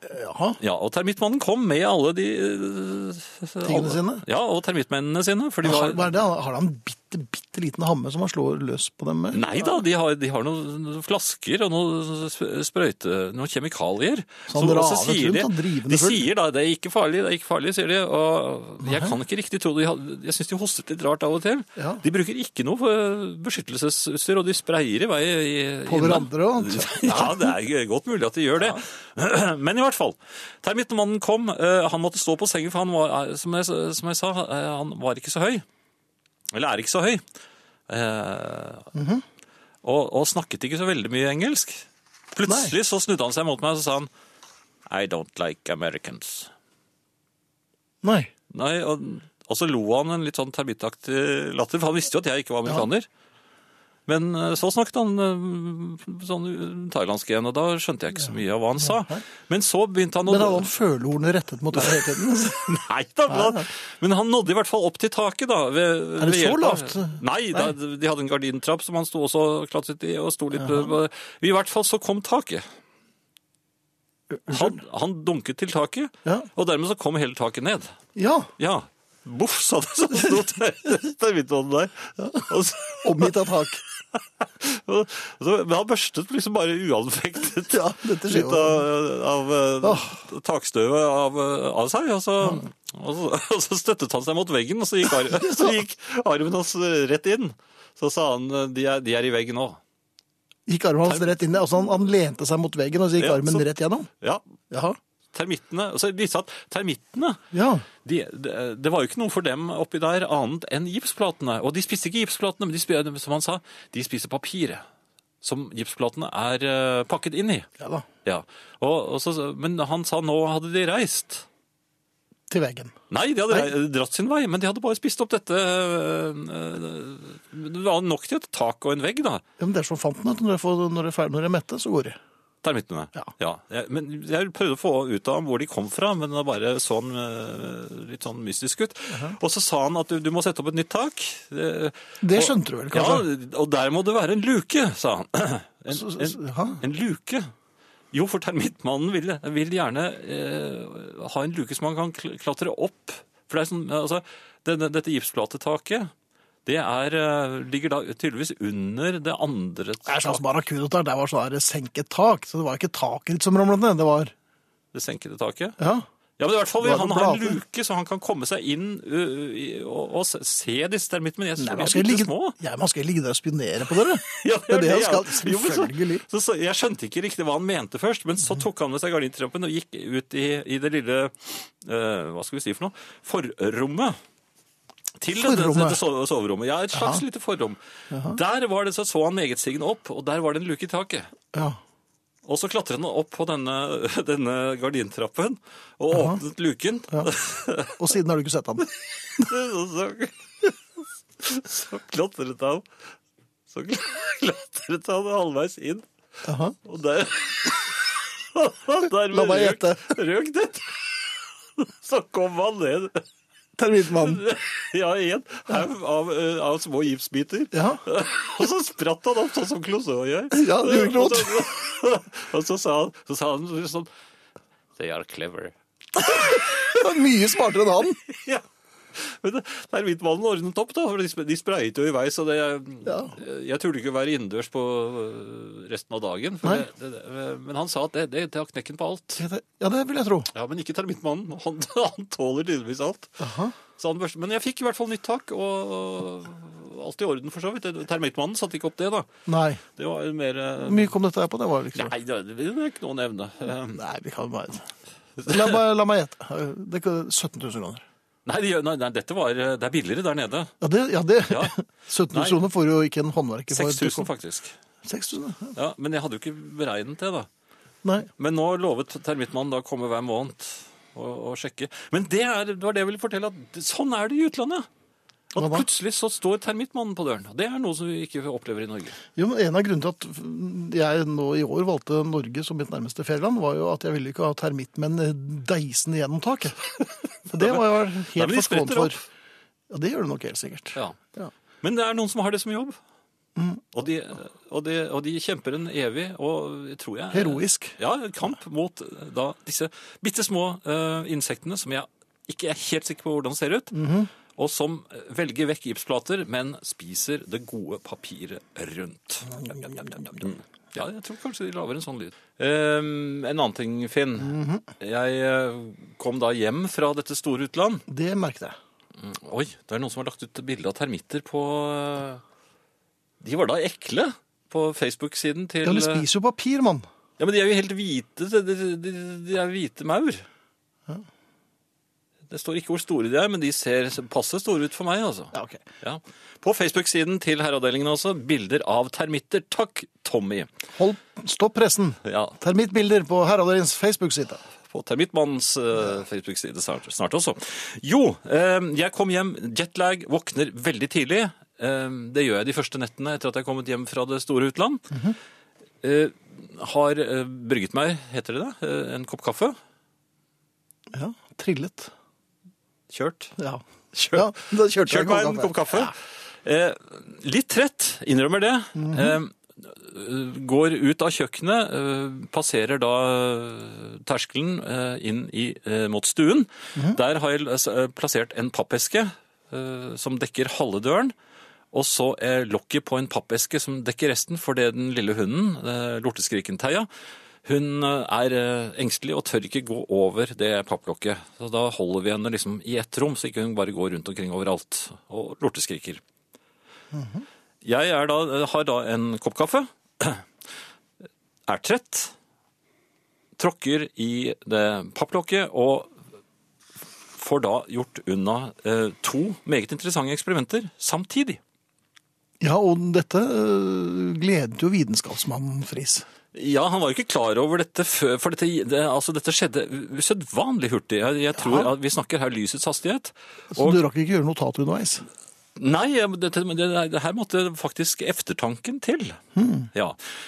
Speaker 1: Jaha.
Speaker 2: Ja, og termittmannen kom med alle de eh,
Speaker 1: Tingene sine?
Speaker 2: Ja, og termittmennene sine. For de
Speaker 1: Har,
Speaker 2: var,
Speaker 1: hva er det? har han en bitte, bitte liten hamme som han slår løs på dem med?
Speaker 2: Nei da, de har, de har noen noen flasker og noen sp- sprøyte, noen kjemikalier.
Speaker 1: Så han
Speaker 2: Så- og
Speaker 1: ravet rundt, han drivende
Speaker 2: de
Speaker 1: full.
Speaker 2: sier da, det er ikke farlig, det er ikke farlig, sier de. Og jeg kan ikke riktig tro det, de hadde- jeg synes de hostet litt rart av og til.
Speaker 1: Ja.
Speaker 2: De bruker ikke noe for beskyttelsesutstyr, og de sprayer i vei. I,
Speaker 1: På
Speaker 2: inne.
Speaker 1: hverandre og alt.
Speaker 2: Ja, det er godt mulig at de gjør det. Men i hvert fall, termittmannen kom, eh, han måtte stå på sengen, for han var, eh, som jeg, som jeg sa, eh, han var ikke så høy. Eller er ikke så høy. Eh, og, og snakket ikke så veldig mye engelsk. Plutselig så snudde han seg mot meg og så sa han I don't like Americans.
Speaker 1: Nei.
Speaker 2: Nei, og, og så lo han en litt sånn termittaktig latter, for han visste jo at jeg ikke var amerikaner. Men eh, så snakket han eh, sånn thailandsk igjen, og da skjønte jeg ikke så mye av hva han sa. Men så begynte han å
Speaker 1: Men hadde han følehornet rettet mot deg hele tiden?
Speaker 2: Nei da, men han, men han nådde i hvert fall opp til taket, da. Ved,
Speaker 1: Er det
Speaker 2: ved
Speaker 1: så
Speaker 2: hjelp av-
Speaker 1: lavt?
Speaker 2: Nei, da, de hadde en gardintrapp som han sto også og klatret i. og sto litt... I hvert fall så kom taket. Han, han dunket til taket,
Speaker 1: Ja.
Speaker 2: og dermed så kom hele taket ned.
Speaker 1: Ja.
Speaker 2: Ja. Boff, sa det som sto termittmannen der. Og så,
Speaker 1: Omgitt av tak.
Speaker 2: og så, men han børstet liksom bare uanfektet
Speaker 1: Ja, dette skjer
Speaker 2: litt
Speaker 1: jo.
Speaker 2: av, av eh, takstøvet av, eh, av seg. Og så, og, så, og så støttet han seg mot veggen, og så gikk, ar så gikk armen hans rett inn. Så sa han eh, de er, de er i veggen nå.
Speaker 1: Gikk armen hans rett inn i altså han, han lente seg mot veggen, og så gikk
Speaker 2: Ja,
Speaker 1: armen
Speaker 2: så-
Speaker 1: rett gjennom?
Speaker 2: Ja,
Speaker 1: Jaha.
Speaker 2: termittene. Så de sa at termittene
Speaker 1: Ja.
Speaker 2: de, de, det var jo ikke noe for dem oppi der annet enn gipsplatene. Og de spiste ikke gipsplatene, men de, spi- som han sa, de spiser papiret. Som gipsplatene er eh, pakket inn i.
Speaker 1: ja da.
Speaker 2: Ja. Og, og så, men han sa nå hadde de reist.
Speaker 1: Til veggen.
Speaker 2: Nei, de hadde rei- dratt sin vei, men de hadde bare spist opp dette eh, eh, Det var nok til et tak og en vegg, da.
Speaker 1: Ja, men dere som fant den, vet du, når dere får- når dere er ferdig, når dere er mette, så går de.
Speaker 2: Termittene.
Speaker 1: Ja.
Speaker 2: Jeg, men jeg prøvde å få ut av ham hvor de kom fra, men det var bare sånn eh, litt sånn mystisk ut. Og så sa han at du, du må sette opp et nytt tak. Eh,
Speaker 1: Det
Speaker 2: og-
Speaker 1: skjønte du vel, kanskje?
Speaker 2: Ja, og der må det være en luke, sa han. En,
Speaker 1: Så- så-
Speaker 2: en,
Speaker 1: hæ?
Speaker 2: en luke? Jo, for termittmannen vil, vil gjerne eh, ha en luke som han kan kl- klatre opp. For det er sånn, altså, denne, dette gipsplatetaket, det er, eh, ligger da tydeligvis under det andre
Speaker 1: Det er sånn som barracuda tar. Der var sånn her senket tak, så det var ikke taket ditt som ramlet ned. Det var
Speaker 2: det senkede taket.
Speaker 1: Ja.
Speaker 2: Ja, men i hvert fall
Speaker 1: Det
Speaker 2: vil
Speaker 1: var
Speaker 2: han
Speaker 1: noen
Speaker 2: ha en
Speaker 1: blader.
Speaker 2: luke, så han kan komme seg inn ø, ø, i- og, og se- se disse termittene. Men
Speaker 1: Nei,
Speaker 2: jeg tror de
Speaker 1: man
Speaker 2: er
Speaker 1: skal jo
Speaker 2: bitte
Speaker 1: ligge,
Speaker 2: små.
Speaker 1: ja, man skal jo ligge der og spionere på dere.
Speaker 2: Ja,
Speaker 1: det er det han
Speaker 2: jeg-
Speaker 1: skal.
Speaker 2: Jo, men så-
Speaker 1: Selvfølgelig.
Speaker 2: Så, så, jeg skjønte ikke riktig hva han mente først, men så tok han med seg gardintrappen og gikk ut i, i det lille ø, Hva skal vi si for noe? Forrommet. Til dette,
Speaker 1: Forrommet?
Speaker 2: dette so- soverommet. Ja, et slags lite forrom. Der var det, så, så han megetsigende opp, og der var det en luke i taket.
Speaker 1: Ja.
Speaker 2: Og så klatret han opp på denne, denne gardintrappen og åpnet luken.
Speaker 1: Og siden har du ikke sett ham.
Speaker 2: Så, så, så klatret han Så klatret han halvveis inn,
Speaker 1: Aha.
Speaker 2: og der Dermed
Speaker 1: La meg gjette.
Speaker 2: røk det. Så kom han ned
Speaker 1: Terminmannen.
Speaker 2: ja, i en haug av, eh, av små gipsbiter.
Speaker 1: Ja.
Speaker 2: Og så spratt han opp, sånn som Clouseau gjør.
Speaker 1: Ja, det gjorde
Speaker 2: Og så- Og så sa han, så sa han sånn They are clever.
Speaker 1: Det var mye smartere enn han.
Speaker 2: Ja. Men det- termittmannen ordnet opp, da. for De, sp- de sprayet jo i vei, så det,
Speaker 1: Ja.
Speaker 2: jeg turte ikke å være innendørs på øh, resten av dagen. For
Speaker 1: Nei.
Speaker 2: det, det, det- men han sa at det, det, det har knekken på alt.
Speaker 1: Ja, det vil jeg tro.
Speaker 2: Ja, Men ikke termittmannen. Han, han tåler tydeligvis alt.
Speaker 1: Aha.
Speaker 2: Så han børste, men jeg fikk i hvert fall nytt tak, og alt i orden for så vidt. Termittmannen satte ikke opp det, da.
Speaker 1: Nei.
Speaker 2: Det var mer
Speaker 1: Hvor
Speaker 2: øh,
Speaker 1: mye kom dette her på? Det var liksom
Speaker 2: Nei, det det er ikke noen evne. Eh,
Speaker 1: Nei, vi kan bare La meg, la meg gjette. Det er 17 000 kroner.
Speaker 2: Nei, de- nei, nei dette var, det er billigere der nede.
Speaker 1: Ja, det, ja, det.
Speaker 2: Ja.
Speaker 1: 17 000
Speaker 2: Nei.
Speaker 1: kroner får jo ikke en håndverker for.
Speaker 2: 6000, faktisk.
Speaker 1: 6000, ja.
Speaker 2: Ja, Men jeg hadde jo ikke beregnet det, da.
Speaker 1: Nei.
Speaker 2: Men nå lovet termittmannen da å komme hver måned og, og sjekke. Men det, er, det var det jeg ville fortelle, at det- sånn er det i utlandet. At
Speaker 1: Hva da?
Speaker 2: plutselig så står termittmannen på døren. Og Det er noe som vi ikke opplever i Norge.
Speaker 1: Jo, men En av grunnene til at jeg nå i år valgte Norge som mitt nærmeste fedreland, var jo at jeg ville ikke ha termittmenn deisende gjennom taket. For det var jeg
Speaker 2: Nei, men
Speaker 1: helt
Speaker 2: de spretter
Speaker 1: forskånet for. Ja, Det gjør det nok helt sikkert.
Speaker 2: Ja.
Speaker 1: Ja.
Speaker 2: Men det er noen som har det som jobb. Og, de, og, de, og de kjemper en evig og tror jeg
Speaker 1: Heroisk.
Speaker 2: Ja, kamp mot eh, da disse bitte små eh, insektene som jeg ikke er helt sikker på hvordan ser ut. Og som velger vekk gipsplater, men spiser det gode papiret rundt. Mm. Ja, jeg tror kanskje de lager en sånn lyd. Ehm, en annen ting, Finn. Jeg eh, kom da hjem fra dette store utland.
Speaker 1: Det merket jeg.
Speaker 2: Oi, det er noen som har lagt ut bilde av termitter på eh, De var da ekle på Facebook-siden til
Speaker 1: Ja, De
Speaker 2: eh,
Speaker 1: spiser jo papir, mann.
Speaker 2: ja, men de er jo helt hvite. De, de, de- de er hvite maur. Det står ikke hvor store de er, men de ser passe store ut for meg, altså.
Speaker 1: Ja, ok.
Speaker 2: Ja. På Facebook-siden til herreavdelingen også, bilder av termitter. Takk, Tommy.
Speaker 1: Hold, stopp pressen.
Speaker 2: Ja,
Speaker 1: Termittbilder på herreavdelingens Facebook-side.
Speaker 2: på Termittmannens eh, Facebook-side snart, snart også. Jo, eh, jeg kom hjem, jetlag, våkner veldig tidlig. Eh, det gjør jeg de første nettene etter at jeg har kommet hjem fra det store utland. eh, har eh, brygget meg, heter det det, eh, en kopp kaffe.
Speaker 1: Ja, trillet.
Speaker 2: Kjørt.
Speaker 1: Ja.
Speaker 2: Kjørt.
Speaker 1: Ja, da kjørte jeg
Speaker 2: Kjørt meg en kopp kaffe. Eh, litt trett, innrømmer det. eh, går ut av kjøkkenet, eh, passerer da terskelen eh, inn i, eh, mot stuen. Der har jeg eh, plassert en pappeske eh, som dekker halve døren. Og så eh, lokket på en pappeske som dekker resten, fordi den lille hunden, eh, lorteskriken Theia, hun eh, er eh, engstelig og tør ikke gå over det papplokket. Så da holder vi henne liksom i ett rom, så ikke hun bare går rundt omkring overalt og lorteskriker. Jeg er da, eh, har da en kopp kaffe, er trett, tråkker i det papplokket og får da gjort unna eh, to meget interessante eksperimenter samtidig.
Speaker 1: Ja, og dette øh, gledet jo vitenskapsmannen Friis.
Speaker 2: Ja, han var jo ikke klar over dette før, for dette, det, altså, dette skjedde usedvanlig hurtig. Jeg, jeg tror at vi snakker her lysets hastighet.
Speaker 1: Så
Speaker 2: Og-
Speaker 1: du rakk ikke gjøre notat underveis?
Speaker 2: Nei, jeg- dette, men det, det her måtte faktisk eftertanken til. Ja.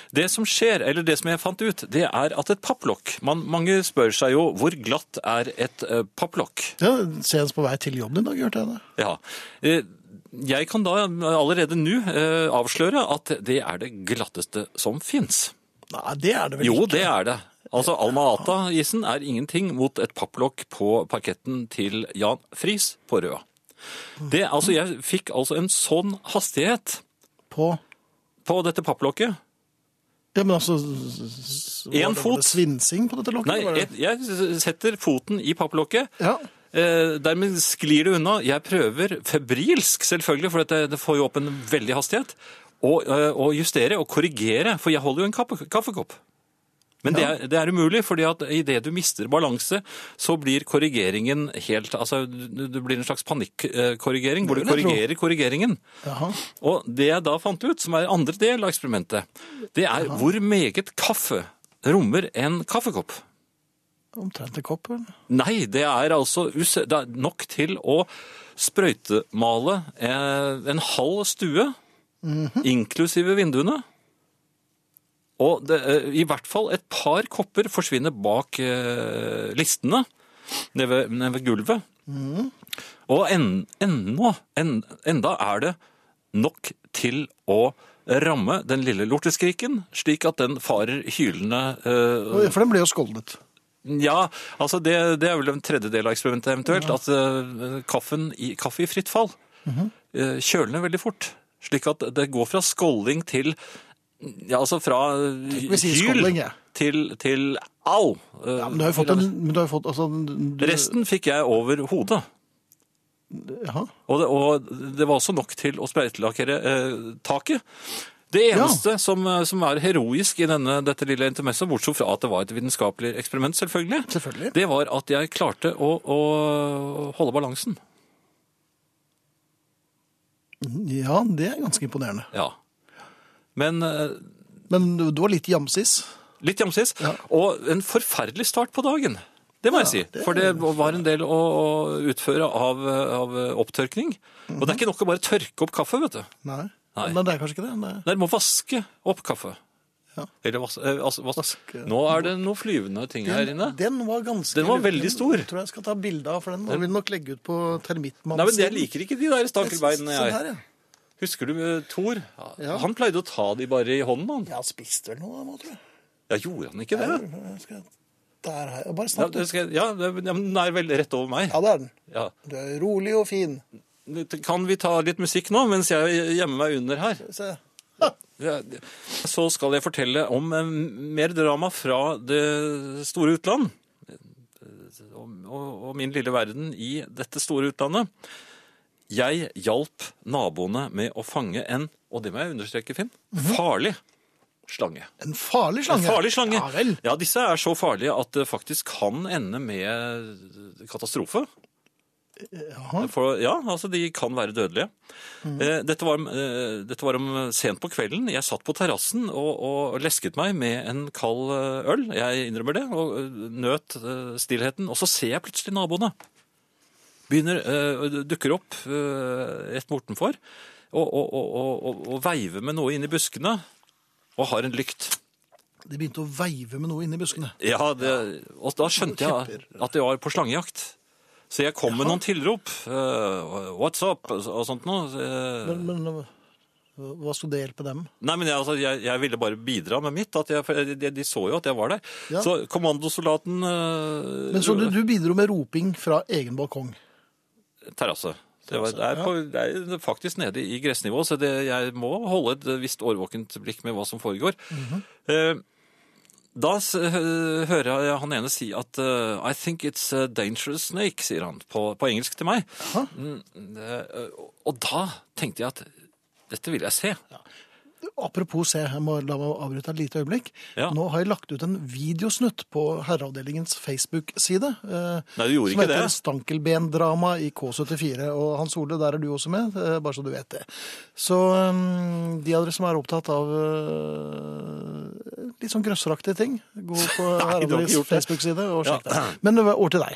Speaker 2: Det som skjer, eller det som jeg fant ut, det er at et papplokk man, Mange spør seg jo hvor glatt er et eh, papplokk?
Speaker 1: Ja, Senest på vei til jobben i dag, hørte jeg det.
Speaker 2: Ja. Eh, Jeg kan da allerede nå eh, avsløre at det er det glatteste som fins.
Speaker 1: Nei, det er det vel
Speaker 2: Jo,
Speaker 1: ikke.
Speaker 2: det er det. Altså, Alma-Ata-isen er ingenting mot et papplokk på parketten til Jan Friis på Røa. Det, altså, jeg fikk altså en sånn hastighet
Speaker 1: På
Speaker 2: på dette papplokket.
Speaker 1: Ja, men altså s- s- var
Speaker 2: En
Speaker 1: det- var
Speaker 2: fot.
Speaker 1: det Svinsing på dette lokket?
Speaker 2: Nei,
Speaker 1: var det?
Speaker 2: jeg, jeg setter foten i papplokket.
Speaker 1: Ja.
Speaker 2: Eh, dermed sklir det unna. Jeg prøver febrilsk, selvfølgelig, for det, det får jo opp en veldig hastighet, å eh, å justere og korrigere, for jeg holder jo en kaffe, kaffekopp. Men det, er, det er umulig, fordi at idet du mister balanse, så blir korrigeringen helt Altså, du- du blir en slags panikkorrigering, hvor du
Speaker 1: Det vil jeg tro.
Speaker 2: korrigerer korrigeringen.
Speaker 1: Jaha.
Speaker 2: Og det jeg da fant ut, som er andre del av eksperimentet, det er hvor meget kaffe rommer en kaffekopp.
Speaker 1: Omtrent en kopp, eller?
Speaker 2: Nei, det er altså us- det er nok til å sprøytemale eh, en halv stue, inklusive vinduene. Og det, eh, i hvert fall et par kopper forsvinner bak eh, listene, nede ved, nede ved gulvet. Og en, ennå, en, enda er det nok til å ramme den lille lorteskriken, slik at den farer hylende eh,
Speaker 1: For den ble jo skoldet.
Speaker 2: ja, altså det, det er vel en tredjedel av eksperimentet eventuelt, at eh, kaffen i, kaffe i fritt fall
Speaker 1: Mhm.
Speaker 2: eh, kjøler veldig fort, slik at det går fra skåling til, ja, altså fra
Speaker 1: vi sier skåling,
Speaker 2: hyl
Speaker 1: jeg.
Speaker 2: til, til au. eh,
Speaker 1: Ja, men du har jo fått en men du har jo fått, altså, du,
Speaker 2: Resten fikk jeg over hodet.
Speaker 1: Jaha.
Speaker 2: Og det, og det var også nok til å sprøytelakkere eh, taket. Det eneste som, eh, som er heroisk i denne, dette lille intermesset, bortsett fra at det var et vitenskapelig eksperiment, selvfølgelig,
Speaker 1: Selvfølgelig.
Speaker 2: det var at jeg klarte å, å holde balansen.
Speaker 1: Ja, det er ganske imponerende.
Speaker 2: Ja. Men eh,
Speaker 1: Men du, du var litt jamsis.
Speaker 2: litt jamsis. Og en forferdelig start på dagen. Det må jeg si. For det var en del å, å utføre av, eh, av opptørkning. Og det er ikke nok å bare tørke opp kaffe, vet du.
Speaker 1: Nei.
Speaker 2: Nei.
Speaker 1: Men det er kanskje ikke det. Nei.
Speaker 2: Nei, du må vaske opp kaffe.
Speaker 1: Ja.
Speaker 2: Eller vas eh, altså, vas
Speaker 1: Vaske.
Speaker 2: Nå er det noen flyvende ting her inne.
Speaker 1: den var ganske
Speaker 2: Den var veldig stor.
Speaker 1: Jeg tror jeg skal ta bilde av, for den må vi nok legge ut på termittmannen.
Speaker 2: Nei, men Jeg liker ikke de der stakkelbeinene.
Speaker 1: Sånn
Speaker 2: jeg.
Speaker 1: her, ja.
Speaker 2: Husker du eh, Thor? Ja,
Speaker 1: Ja.
Speaker 2: Han pleide å ta de bare i hånden. han.
Speaker 1: Jeg har spist vel noe, da, tror jeg.
Speaker 2: Ja, Gjorde han ikke det?
Speaker 1: Jeg skal- Der her. Bare
Speaker 2: Ja,
Speaker 1: snakk, du.
Speaker 2: det skal, ja, det, ja, men den er vel rett over meg.
Speaker 1: Ja, det er den.
Speaker 2: Ja.
Speaker 1: Du er rolig og fin.
Speaker 2: Kan vi ta litt musikk nå, mens jeg gjemmer meg under her?
Speaker 1: Se.
Speaker 2: Ja, Så skal jeg fortelle om eh, mer drama fra det store utland. eh, om- Og, og min lille verden i dette store utlandet. Jeg hjalp naboene med å fange en, og det må jeg understreke, Finn, farlig slange.
Speaker 1: En farlig
Speaker 2: En
Speaker 1: slange.
Speaker 2: farlig slange.
Speaker 1: Ja vel.
Speaker 2: Ja, disse er så farlige at det faktisk kan ende med katastrofe. For, ja, altså de kan være dødelige.
Speaker 1: Mm.
Speaker 2: Eh, Dette, var, eh, dette var om sent på kvelden. Jeg satt på terrassen og, og lesket meg med en kald eh, øl. Jeg innrømmer det, og eh, nøt eh, stillheten. Og så ser jeg plutselig naboene. Begynner, eh, dukker opp eh, rett bortenfor og, og, og, og, og, og veiver med noe inn i buskene. Og har en lykt.
Speaker 1: De begynte å veive med noe inni buskene.
Speaker 2: Ja, det, og da skjønte jeg at det var på slangejakt. Så jeg kom med noen tilrop. eh, what's up? Og og sånt noe. Eh,
Speaker 1: Men, men hva- hva skulle det hjelpe dem?
Speaker 2: nei, men jeg, altså, jeg, jeg ville bare bidra med mitt. At jeg, for de, de så jo at jeg var der.
Speaker 1: Ja.
Speaker 2: Så kommandosoldaten eh,
Speaker 1: Men så du, du bidro med roping fra egen balkong.
Speaker 2: Terrasse. Det, var, det, er på, det er faktisk nede i gressnivå, så det, jeg må holde et visst årvåkent blikk med hva som foregår. Eh, da s- hø- hører jeg han ene si at eh, I think it's a dangerous snake, sier han på, på engelsk til meg. Mm, eh, og da tenkte jeg at dette vil jeg se.
Speaker 1: Apropos se, jeg må la meg avbryte et lite øyeblikk.
Speaker 2: Ja.
Speaker 1: Nå har jeg lagt ut en videosnutt på herreavdelingens Facebook-side. eh,
Speaker 2: Nei, du gjorde
Speaker 1: som
Speaker 2: ikke
Speaker 1: heter
Speaker 2: det.
Speaker 1: Stankelbendrama i K74. Og Hans Ole, der er du også med, eh, bare så du vet det. Så eh, de av dere som er opptatt av eh, litt sånn grøsseraktige ting, gå på
Speaker 2: har ikke
Speaker 1: herreavdelingens
Speaker 2: gjort det.
Speaker 1: Facebook-side og sjekk
Speaker 2: Ja.
Speaker 1: det. Men over til deg.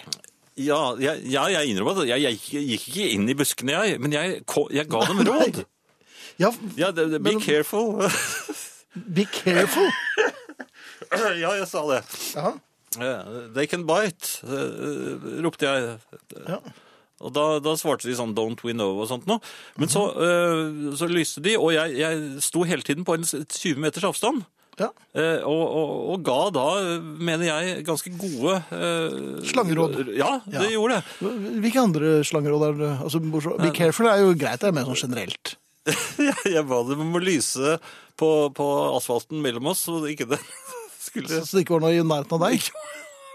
Speaker 2: Ja, jeg, ja, jeg innrømmer at jeg, jeg gikk ikke inn i buskene, jeg. Men jeg, ko- jeg ga dem råd.
Speaker 1: Ja,
Speaker 2: Ja, det, det, be
Speaker 1: Men-
Speaker 2: careful.
Speaker 1: be careful!
Speaker 2: ja, jeg sa det.
Speaker 1: Ja.
Speaker 2: Eh, They can bite, eh, ropte jeg.
Speaker 1: Ja.
Speaker 2: Og da, da svarte de sånn 'don't we know' og sånt noe. Men så, eh, så lyste de, og jeg, jeg sto hele tiden på en s- 20 meters avstand.
Speaker 1: ja.
Speaker 2: eh, og, og, og ga da, mener jeg, ganske gode eh,
Speaker 1: Slangeråd.
Speaker 2: Ja, det
Speaker 1: Ja.
Speaker 2: gjorde det.
Speaker 1: Hvilke andre slangeråd er det? Altså, bortsett- be careful er jo greit, det er mer sånn generelt.
Speaker 2: Jeg, jeg ba dem om å lyse på, på asfalten mellom oss, så ikke det skulle
Speaker 1: Så det ikke var noe i nærheten av deg.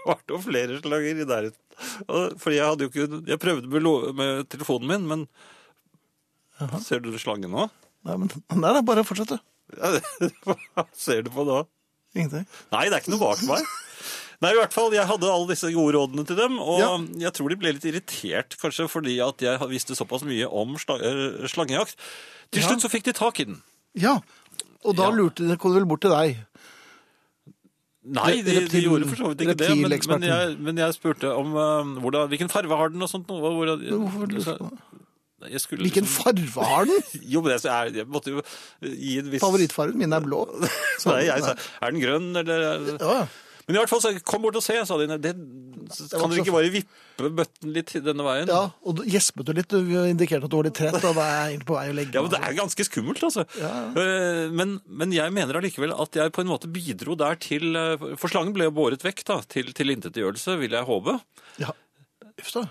Speaker 2: vært noen flere slager i nærheten. Og- Fordi jeg hadde jo ikke Jeg prøvde med, lo- med telefonen min, men Ser du slangen nå?
Speaker 1: Nei, men, nei, det er bare å fortsette.
Speaker 2: Ja, Hva ser du på nå?
Speaker 1: Ingenting.
Speaker 2: Nei, det er ikke noe bak meg. Nei, i hvert fall, Jeg hadde alle disse gode rådene til dem, og jeg tror de ble litt irritert kanskje fordi at jeg visste såpass mye om sla eh, slangejakt. Til slutt så fikk de tak i den.
Speaker 1: Ja, og da
Speaker 2: Ja.
Speaker 1: lurte de, kom de vel bort til deg.
Speaker 2: Nei, de, de
Speaker 1: Reptil-
Speaker 2: gjorde for så vidt ikke det, men, men,
Speaker 1: reptileksperten.
Speaker 2: jeg, men jeg spurte om eh, hvordan, hvilken farve har den og sånt. noe, hvordan-
Speaker 1: hvorfor lurte
Speaker 2: så-
Speaker 1: du på
Speaker 2: Nei, jeg skulle
Speaker 1: Hvilken
Speaker 2: liksom-
Speaker 1: farve har den?
Speaker 2: Jo, men jeg, jeg, jeg måtte jo gi en viss
Speaker 1: Favorittfargen min er blå.
Speaker 2: Så Nei, jeg sa, er den grønn, eller er-
Speaker 1: Ja, ja.
Speaker 2: Men i hvert fall, så kom bort og se, sa de. Nei, Det,
Speaker 1: var
Speaker 2: kan dere
Speaker 1: så-
Speaker 2: ikke bare vippe bøtten litt denne veien?
Speaker 1: ja, og du gjespet du litt, du indikerte at du var litt trett, og da er jeg egentlig på vei å legge
Speaker 2: Ja, men Det er ganske skummelt, altså. Eh, Men, men jeg mener allikevel at jeg på en måte bidro der til eh, For slangen ble jo båret vekk da, til tilintetgjørelse, vil jeg håpe.
Speaker 1: Ja. Uff da.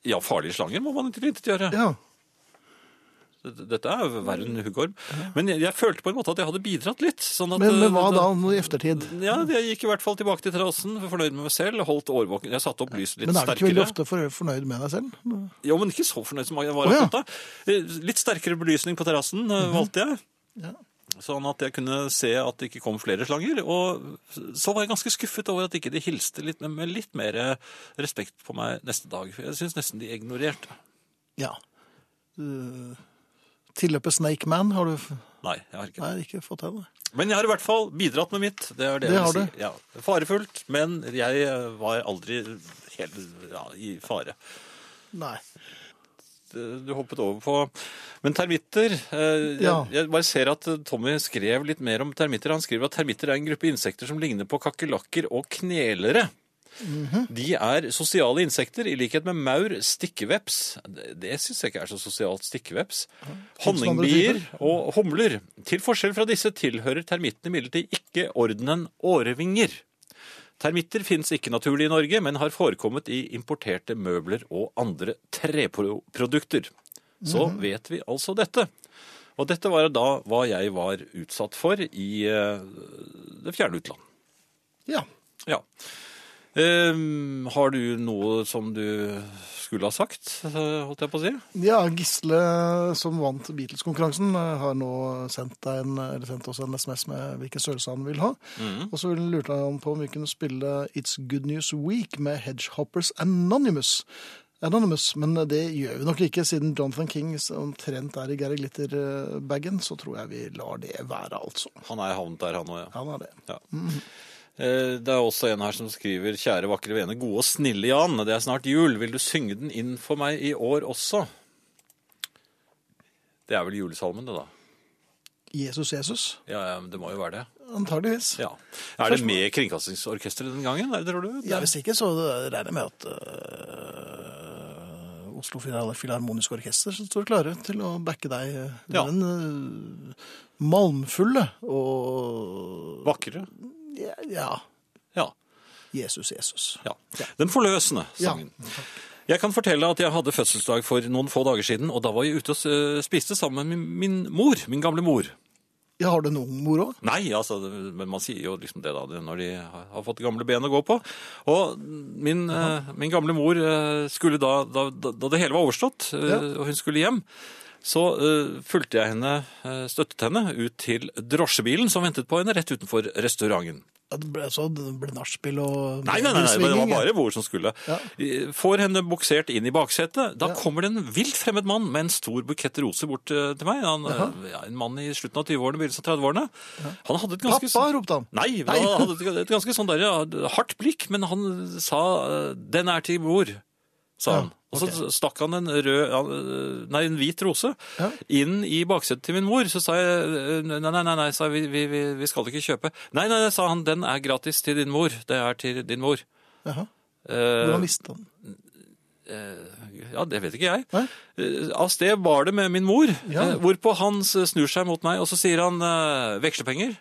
Speaker 2: Ja, farlige slanger må man tilintetgjøre.
Speaker 1: Ja.
Speaker 2: Dette er jo verre enn huggorm. Men jeg, jeg følte på en måte at jeg hadde bidratt litt. Sånn at,
Speaker 1: Men, men hva
Speaker 2: eh,
Speaker 1: da nå i eftertid?
Speaker 2: Ja, jeg gikk i hvert fall tilbake til terrassen, fornøyd med meg selv, holdt årvåken. Jeg satte opp lyset litt
Speaker 1: Men er du ikke veldig
Speaker 2: sterkere.
Speaker 1: ofte for, fornøyd med deg selv?
Speaker 2: Jo, men ikke så fornøyd som jeg var
Speaker 1: Å, ja. Mhm.
Speaker 2: akkurat da. Eh, Litt sterkere belysning på terrassen eh, valgte jeg. Sånn at jeg kunne se at det ikke kom flere slanger. Og så var jeg ganske skuffet over at ikke de hilste litt, med litt mer eh, respekt på meg neste dag. For jeg syns nesten de ignorerte.
Speaker 1: Ja. Uh, Tilløpet Snake Man har du f-
Speaker 2: Nei, jeg har ikke det.
Speaker 1: Nei, ikke fått til det.
Speaker 2: Men jeg har i hvert fall bidratt med mitt. Det er det,
Speaker 1: Det
Speaker 2: jeg
Speaker 1: har
Speaker 2: vil
Speaker 1: du.
Speaker 2: si. Ja, farefullt, men jeg eh, var aldri helt ja, i fare.
Speaker 1: Nei.
Speaker 2: eh, du hoppet over på Men termitter eh,
Speaker 1: Ja.
Speaker 2: jeg, jeg bare ser at eh, Tommy skrev litt mer om termitter. Han skriver at termitter er en gruppe insekter som ligner på kakerlakker og knelere.
Speaker 1: Mm.
Speaker 2: De er sosiale insekter, i likhet med maur, stikkeveps Det, det syns jeg ikke er så sosialt. Stikkeveps.
Speaker 1: finnes det andre
Speaker 2: Honningbier og humler. Til forskjell fra disse tilhører termittene imidlertid ikke ordenen årevinger. Termitter finnes ikke naturlig i Norge, men har forekommet i importerte møbler og andre treprodukter. Så
Speaker 1: Mm.
Speaker 2: vet vi altså dette. Og dette var da hva jeg var utsatt for i eh, det fjerne utland.
Speaker 1: Ja.
Speaker 2: Ja. Ehm, har du noe som du skulle ha sagt, eh, holdt jeg på å si?
Speaker 1: Ja, Gisle, som vant Beatles-konkurransen, eh, har nå sendt, deg en, eller sendt oss en SMS med hvilken størrelse han vil ha. Og så lurte han på om vi kunne spille It's Good News Week med Hedgehoppers Anonymous. Anonymous, Men det gjør vi nok ikke, siden Jonathan King omtrent er i Gary Glitter-bagen. Så tror jeg vi lar det være, altså.
Speaker 2: Han er havnet der, han òg, ja.
Speaker 1: Han er det.
Speaker 2: Ja. Eh, Det er også en her som skriver Kjære, vakre vene, gode og snille Jan. Det er snart jul. Vil du synge den inn for meg i år også? Det er vel julesalmen, det, da.
Speaker 1: Jesus, Jesus.
Speaker 2: Ja, ja, det må jo være det.
Speaker 1: Antageligvis.
Speaker 2: Ja. Er det med Kringkastingsorkesteret den gangen? Nei, tror du?
Speaker 1: Ja, hvis ikke, så regner jeg med at øh, Oslo Filhar- Filharmoniske Orkester står klare til å backe deg øh, med
Speaker 2: Ja.
Speaker 1: den øh, malmfulle og
Speaker 2: Vakre.
Speaker 1: ja, ja,
Speaker 2: Ja.
Speaker 1: Jesus, Jesus.
Speaker 2: ja. Den forløsende
Speaker 1: Ja.
Speaker 2: sangen. Jeg kan fortelle at jeg hadde fødselsdag for noen få dager siden, og da var jeg ute og eh, spiste sammen med min- min mor. Min gamle mor.
Speaker 1: Ja, har du en ung mor òg?
Speaker 2: Nei, altså, men man sier jo liksom det da, det- når de har fått gamle ben å gå på. Og min, eh, min gamle mor eh, skulle da, da, da det hele var overstått, eh,
Speaker 1: Ja.
Speaker 2: og hun skulle hjem, så eh, fulgte jeg henne, eh, støttet henne, ut til drosjebilen som ventet på henne rett utenfor restauranten.
Speaker 1: Ja, Det ble, så det ble nachspiel og
Speaker 2: Nei, nei, nei, nei, men det var
Speaker 1: svinging, ja.
Speaker 2: bare hvor som skulle. Får henne buksert inn i baksetet. Da kommer det en vilt fremmed mann med en stor bukett roser bort eh, til meg. Han, eh, ja, en mann i slutten av 20-årene, begynnelsen av 30-årene. Han hadde et ganske...
Speaker 1: Pappa, ropte han.
Speaker 2: Nei, men han hadde et- et ganske sånn der, ja, hardt blikk, men han sa eh, 'den er til mor', sa han. Og så stakk han en, rød, ja, eh, nei, en hvit rose
Speaker 1: Ja.
Speaker 2: inn i baksetet til min mor. Så sa jeg eh, nei, nei, nei, nei sa jeg, vi, vi, vi, vi skal ikke kjøpe. Nei, nei, nei, sa han, den er gratis til din mor. Det er til din mor.
Speaker 1: Jaha.
Speaker 2: Eh,
Speaker 1: Hvordan visste han?
Speaker 2: ja, det vet ikke jeg.
Speaker 1: Nei?
Speaker 2: Eh, Av sted bar det med min mor,
Speaker 1: Ja.
Speaker 2: eh, hvorpå han s- snur seg mot meg, og så sier han eh, vekslepenger.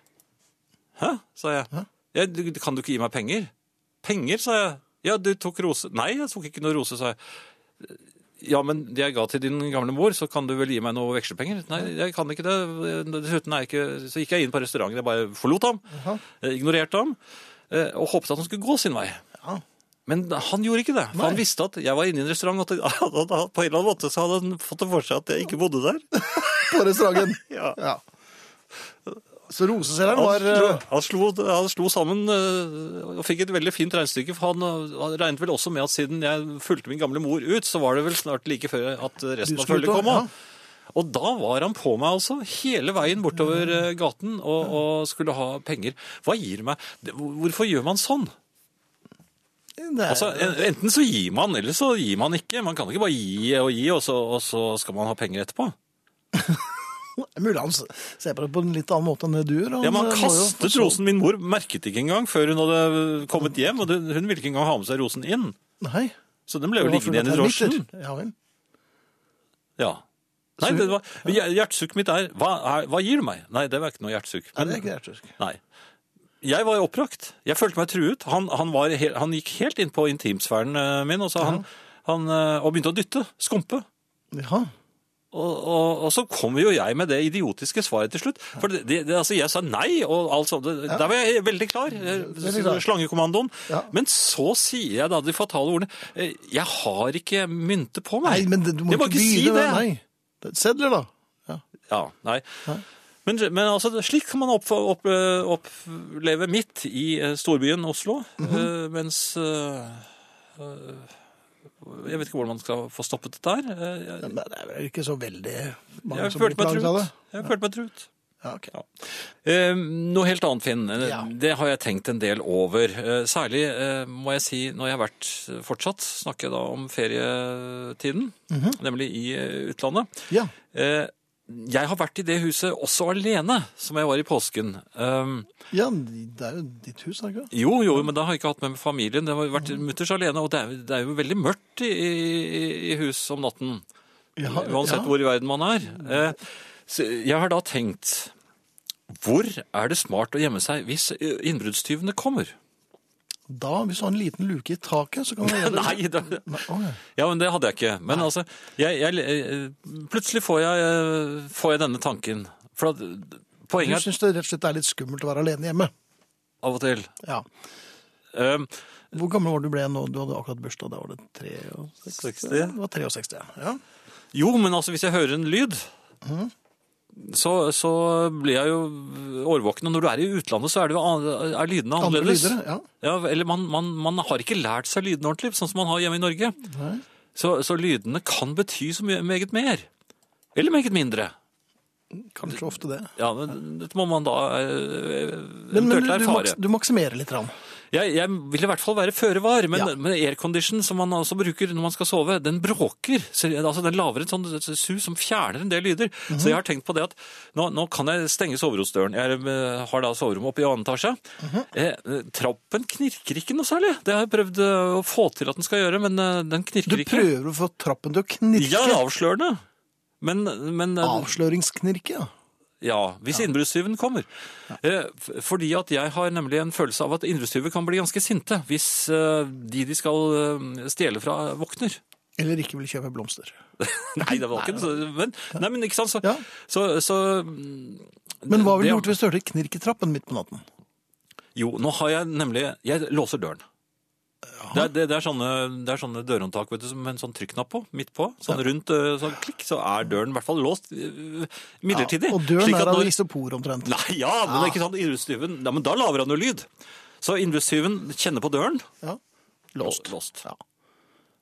Speaker 2: Hæ, sa jeg. «Ja, du, kan du ikke gi meg penger? Penger, sa jeg. Ja, du tok rose. Nei, jeg tok ikke noe rose, sa jeg. Ja, men det jeg ga til din gamle mor, så kan du vel gi meg noe vekslepenger? Nei, jeg kan ikke det. Dessuten er jeg ikke Så gikk jeg inn på restauranten, jeg bare forlot ham. eh, Ignorerte ham. eh, Og håpet at han skulle gå sin vei. Men han gjorde ikke det. For han visste at jeg var inne i en restaurant, og at han hadde, på en eller annen måte så hadde han fått det for seg at jeg ikke bodde der.
Speaker 1: På restauranten.
Speaker 2: Ja.
Speaker 1: Ja. Så roseselgeren
Speaker 2: Han,
Speaker 1: var
Speaker 2: slo,
Speaker 1: eh,
Speaker 2: han, slo, han slo sammen eh, og fikk et veldig fint regnestykke, for han, eh, han regnet vel også med at siden jeg fulgte min gamle mor ut, så var det vel snart like før at
Speaker 1: Du
Speaker 2: resten av
Speaker 1: skulle
Speaker 2: følget
Speaker 1: ut,
Speaker 2: kom. av. Og da var han på meg altså, hele veien bortover eh, gaten og, og skulle ha penger. Hva gir meg? Det- Hvorfor gjør man sånn?
Speaker 1: det er-
Speaker 2: Altså, en- enten så gir man, eller så gir man ikke. Man kan ikke bare gi og gi, og så, og så skal man ha penger etterpå.
Speaker 1: Det er mulig han ser på det på en litt annen måte enn det du gjør. Han,
Speaker 2: Ja, man
Speaker 1: eh, må jo
Speaker 2: kastet
Speaker 1: forstå-
Speaker 2: rosen. Min mor merket ikke engang før hun hadde kommet hjem, og det- hun ville ikke engang ha med seg rosen inn.
Speaker 1: Nei.
Speaker 2: Så den ble jo
Speaker 1: det var
Speaker 2: liggende igjen i
Speaker 1: full av
Speaker 2: drosjen.
Speaker 1: termitter. Ja vel.
Speaker 2: Ja. Nei, det var, hjertesukk mitt er hva, er hva gir du meg? Nei, det var ikke noe hjertesukk.
Speaker 1: Nei, det er ikke hjertesukk.
Speaker 2: Nei. Jeg var opprøkt. Jeg følte meg truet. Han, han, var, he- han gikk helt inn på intimsfæren eh, min, og, så han, han, eh, og begynte å dytte, skumpe.
Speaker 1: Ja.
Speaker 2: Og, og, og så kommer jo jeg med det idiotiske svaret til slutt. For det, det, det, altså, jeg sa nei, og alt sånt. Det- Der var jeg veldig klar. eh,
Speaker 1: Veldig klar.
Speaker 2: Slangekommandoen.
Speaker 1: Ja.
Speaker 2: Men så sier jeg da de fatale ordene eh, Jeg har ikke mynte på meg.
Speaker 1: Nei, men det- du må
Speaker 2: jeg må
Speaker 1: ikke
Speaker 2: ikke si
Speaker 1: begynne
Speaker 2: det!
Speaker 1: med- Nei. Det- Sedler, da. Ja.
Speaker 2: Ja, nei. Men, men altså, slik kan man opp, opp, eh, oppleve midt i eh, storbyen Oslo,
Speaker 1: Mhm.
Speaker 2: eh, mens eh, eh, Jeg vet ikke hvordan man skal få stoppet dette her. Eh, jeg-
Speaker 1: Men det er vel ikke så veldig mange
Speaker 2: Jeg
Speaker 1: som
Speaker 2: følte meg
Speaker 1: plages av
Speaker 2: truet.
Speaker 1: det?
Speaker 2: Jeg følte meg truet.
Speaker 1: Ja, ok.
Speaker 2: Ja. Eh, noe helt annet, Finn. Eh,
Speaker 1: Ja.
Speaker 2: Det har jeg tenkt en del over. Eh, særlig eh, må jeg si når jeg har vært eh, fortsatt, snakker jeg da om ferietiden, nemlig i eh, utlandet.
Speaker 1: Ja.
Speaker 2: Eh, jeg har vært i det huset også alene, som jeg var i påsken. Um,
Speaker 1: ja, det er jo ditt hus, er det ikke det?
Speaker 2: jo, jo, men da har jeg ikke hatt med meg familien. Det har jo vært mutters alene, og det er, det er jo veldig mørkt i, i, i hus om natten.
Speaker 1: Ja,
Speaker 2: Uansett
Speaker 1: ja.
Speaker 2: hvor i verden man er. Eh, så Jeg har da tenkt, hvor er det smart å gjemme seg hvis eh, innbruddstyvene kommer?
Speaker 1: Da, hvis du har en liten luke i taket, så kan du gjøre det.
Speaker 2: Nei, det,
Speaker 1: Nei, å, ja.
Speaker 2: ja, men det hadde jeg ikke. Men altså, jeg, jeg, eh, plutselig får jeg, eh, får jeg denne tanken. For at,
Speaker 1: Du
Speaker 2: poenget er
Speaker 1: syns det rett og slett er litt skummelt å være alene hjemme?
Speaker 2: av og til.
Speaker 1: Ja.
Speaker 2: Um,
Speaker 1: Hvor gammel var du ble nå? Du hadde akkurat bursdag, da var det 63? Det
Speaker 2: 60.
Speaker 1: var 63, ja. ja.
Speaker 2: Jo, men altså, hvis jeg hører en lyd,
Speaker 1: Mhm.
Speaker 2: så, så blir jeg jo årvåken. Og når du er i utlandet, så er, det jo, an- er lydene
Speaker 1: Andre
Speaker 2: annerledes.
Speaker 1: lyder, ja.
Speaker 2: Ja, eller man, man, man har ikke lært seg lydene ordentlig, sånn som man har hjemme i Norge.
Speaker 1: Nei.
Speaker 2: Så, så lydene kan bety så mye, meget mer. Eller meget mindre.
Speaker 1: Kanskje ofte det.
Speaker 2: Ja, men dette må man da eh,
Speaker 1: Men, men du,
Speaker 2: eventuelt
Speaker 1: du,
Speaker 2: erfare.
Speaker 1: maks, du maksimerer litt. Rann.
Speaker 2: Jeg, jeg vil i hvert fall være føre var, men,
Speaker 1: Ja.
Speaker 2: men aircondition som man også bruker når man skal sove, den bråker. Så, altså, den laver et sånt sus som fjerner en del lyder.
Speaker 1: Mhm.
Speaker 2: Så jeg har tenkt på det at nå, nå kan jeg stenge soveromsdøren. Jeg eh, har da soverommet oppe i annen etasje.
Speaker 1: Mhm.
Speaker 2: eh, trappen knirker ikke noe særlig. Det har jeg prøvd eh, å få til at den skal gjøre, men eh, den knirker
Speaker 1: Du
Speaker 2: ikke.
Speaker 1: prøver å få trappen til å knirke.
Speaker 2: Ja, det er avslørende. Men, men eh,
Speaker 1: Avsløringsknirke, ja.
Speaker 2: ja, hvis innbruddstyven kommer. Eh, f- Fordi at jeg har nemlig en følelse av at innbruddstyver kan bli ganske sinte hvis eh, de de skal eh, stjele fra, våkner.
Speaker 1: Eller ikke vil kjøpe blomster.
Speaker 2: Nei, det var ikke det. så- Men, nei, men ikke sant? Så,
Speaker 1: Ja.
Speaker 2: så, så mm,
Speaker 1: Men hva ville
Speaker 2: det-
Speaker 1: du gjort hvis du hørte knirk i trappen midt på natten?
Speaker 2: Jo, nå har jeg nemlig Jeg låser døren.
Speaker 1: Ja,
Speaker 2: Det er, det, det, er sånne, det er sånne dørhåndtak vet du, som- med en sånn trykknapp på, midt på. Sånn rundt, øh, sånn klikk, så er døren i hvert fall låst øh, midlertidig.
Speaker 1: Og døren
Speaker 2: Slik at
Speaker 1: er av
Speaker 2: når-
Speaker 1: isopor omtrent.
Speaker 2: Nei, ja, men
Speaker 1: Ah.
Speaker 2: det er ikke sant. Innbruddstyven ja, men Da lager han jo lyd. Så innbruddstyven kjenner på døren.
Speaker 1: Ja. Låst.
Speaker 2: Låst.
Speaker 1: Ja.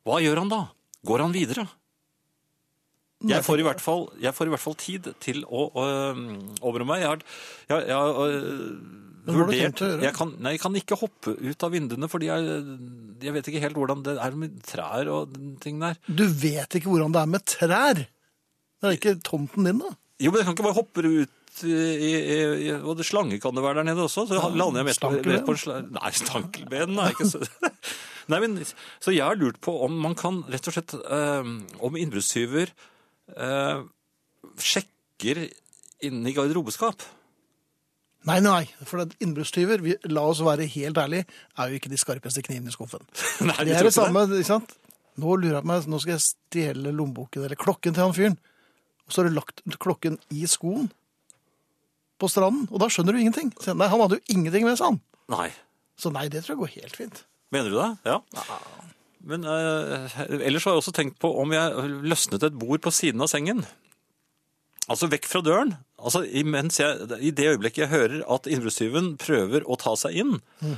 Speaker 2: Hva gjør han da? Går han videre? Jeg får, i hvert fall, jeg får i hvert fall tid til å øh, overrømme meg. Jeg har, jeg, jeg, har, øh,
Speaker 1: Men hva har du tenkt å gjøre?
Speaker 2: jeg kan, nei, jeg kan ikke hoppe ut av vinduene, fordi jeg, jeg vet ikke helt hvordan det er med trær og den ting der.
Speaker 1: Du vet ikke hvordan det er med trær. Det er ikke tomten din, da.
Speaker 2: Jo, men jeg kan ikke bare hoppe ut i, i, i Og det slange kan det være der nede også. Så lander jeg mest på,
Speaker 1: stankelben.
Speaker 2: mest på en slange... Nei, stankelben er ikke så Nei, men Så jeg har lurt på om man kan rett og slett eh, Om innbruddstyver eh, sjekker inni garderobeskap.
Speaker 1: Nei, nei, for at innbruddstyver, vi- la oss være helt ærlige, er jo ikke de skarpeste knivene i skuffen.
Speaker 2: Nei, vi
Speaker 1: Det er
Speaker 2: tror
Speaker 1: det
Speaker 2: ikke
Speaker 1: samme, ikke sant? Nå lurer jeg på meg, nå skal jeg stjele lommeboken eller klokken til han fyren. Og så har du lagt klokken i skoen på stranden, og da skjønner du ingenting. Så, nei, han hadde jo ingenting med seg, han.
Speaker 2: Nei.
Speaker 1: Så nei, det tror jeg går helt fint.
Speaker 2: Mener du det? Ja. Men eh, ellers har jeg også tenkt på om jeg løsnet et bord på siden av sengen. Altså vekk fra døren. Altså imens jeg, I det øyeblikket jeg hører at innbruddstyven prøver å ta seg inn,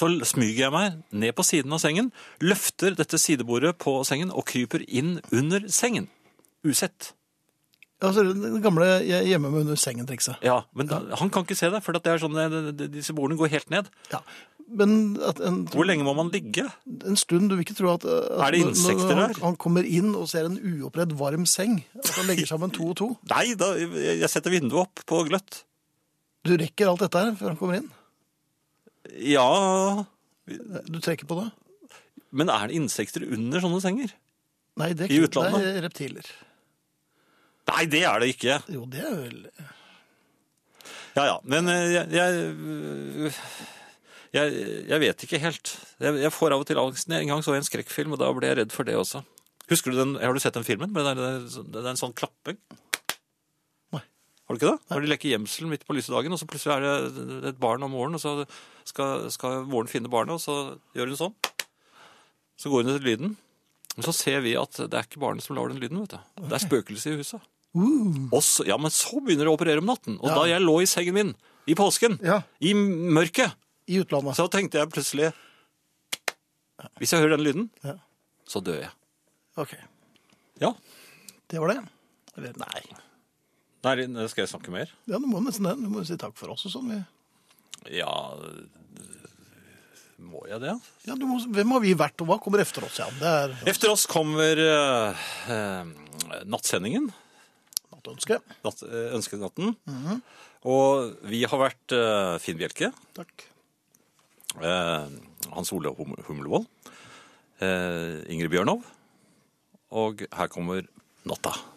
Speaker 2: så smyger jeg meg ned på siden av sengen, løfter dette sidebordet på sengen og kryper inn under sengen. Usett.
Speaker 1: Altså, det gamle hjemme med under sengen-trikset.
Speaker 2: Ja, Men da, han kan ikke se det, for at det er sånn, eh, disse bordene går helt ned.
Speaker 1: Ja. Men at en,
Speaker 2: Hvor lenge må man ligge?
Speaker 1: en stund, du vil ikke tro at, at
Speaker 2: Er det
Speaker 1: når-
Speaker 2: insekter
Speaker 1: når
Speaker 2: der?
Speaker 1: Han, han kommer inn og ser en uoppredd varm seng, at han legger sammen to og to.
Speaker 2: Nei, da, jeg jeg setter vinduet opp på gløtt.
Speaker 1: Du rekker alt dette her før han kommer inn.
Speaker 2: Ja
Speaker 1: Du trekker på det.
Speaker 2: Men er det insekter under sånne senger?
Speaker 1: Nei, det er,
Speaker 2: I
Speaker 1: ikke-
Speaker 2: utlandet?
Speaker 1: Det er reptiler.
Speaker 2: Nei, det er det ikke.
Speaker 1: Jo, det er vel
Speaker 2: Ja, ja. Men eh, jeg Jeg, jeg, jeg vet ikke helt. Jeg, jeg får av og til angsten. En gang så jeg en skrekkfilm, og da ble jeg redd for det også. Husker du den, Har du sett den filmen? med den der- Det er en sånn klapping.
Speaker 1: Nei.
Speaker 2: Har du ikke det? Når de leker gjemsel midt på lyse dagen, og så plutselig er det et barn om moren, og så skal, skal moren finne barnet, og så gjør hun sånn. Så går hun etter lyden. Men så ser vi at det er ikke barnet som lager den lyden, vet du. Det er spøkelset i huset. Og så, ja, men så begynner det å operere om natten. Og da jeg lå i sengen min i påsken,
Speaker 1: Ja.
Speaker 2: i mørket,
Speaker 1: I utlandet.
Speaker 2: så tenkte jeg plutselig Hvis jeg hører den lyden,
Speaker 1: Ja.
Speaker 2: så dør jeg.
Speaker 1: Ok,
Speaker 2: Ja.
Speaker 1: det var det. Eller nei.
Speaker 2: Nei, skal jeg snakke mer?
Speaker 1: Ja, du må nesten det. Du må jo si takk for oss og sånn. Vi-
Speaker 2: Ja Må jeg det?
Speaker 1: Ja, du må, hvem har vi vært, og hva kommer efter oss? Ja, det er
Speaker 2: Efter oss kommer eh, eh, nattsendingen.
Speaker 1: nattønsket.
Speaker 2: Natt, eh, ønskenatten.
Speaker 1: Mhm.
Speaker 2: Og vi har vært eh, Finn Bjelke.
Speaker 1: Takk.
Speaker 2: eh, Hans Ole Hum Humlevold, eh, Ingrid Bjørnov, og her kommer Natta.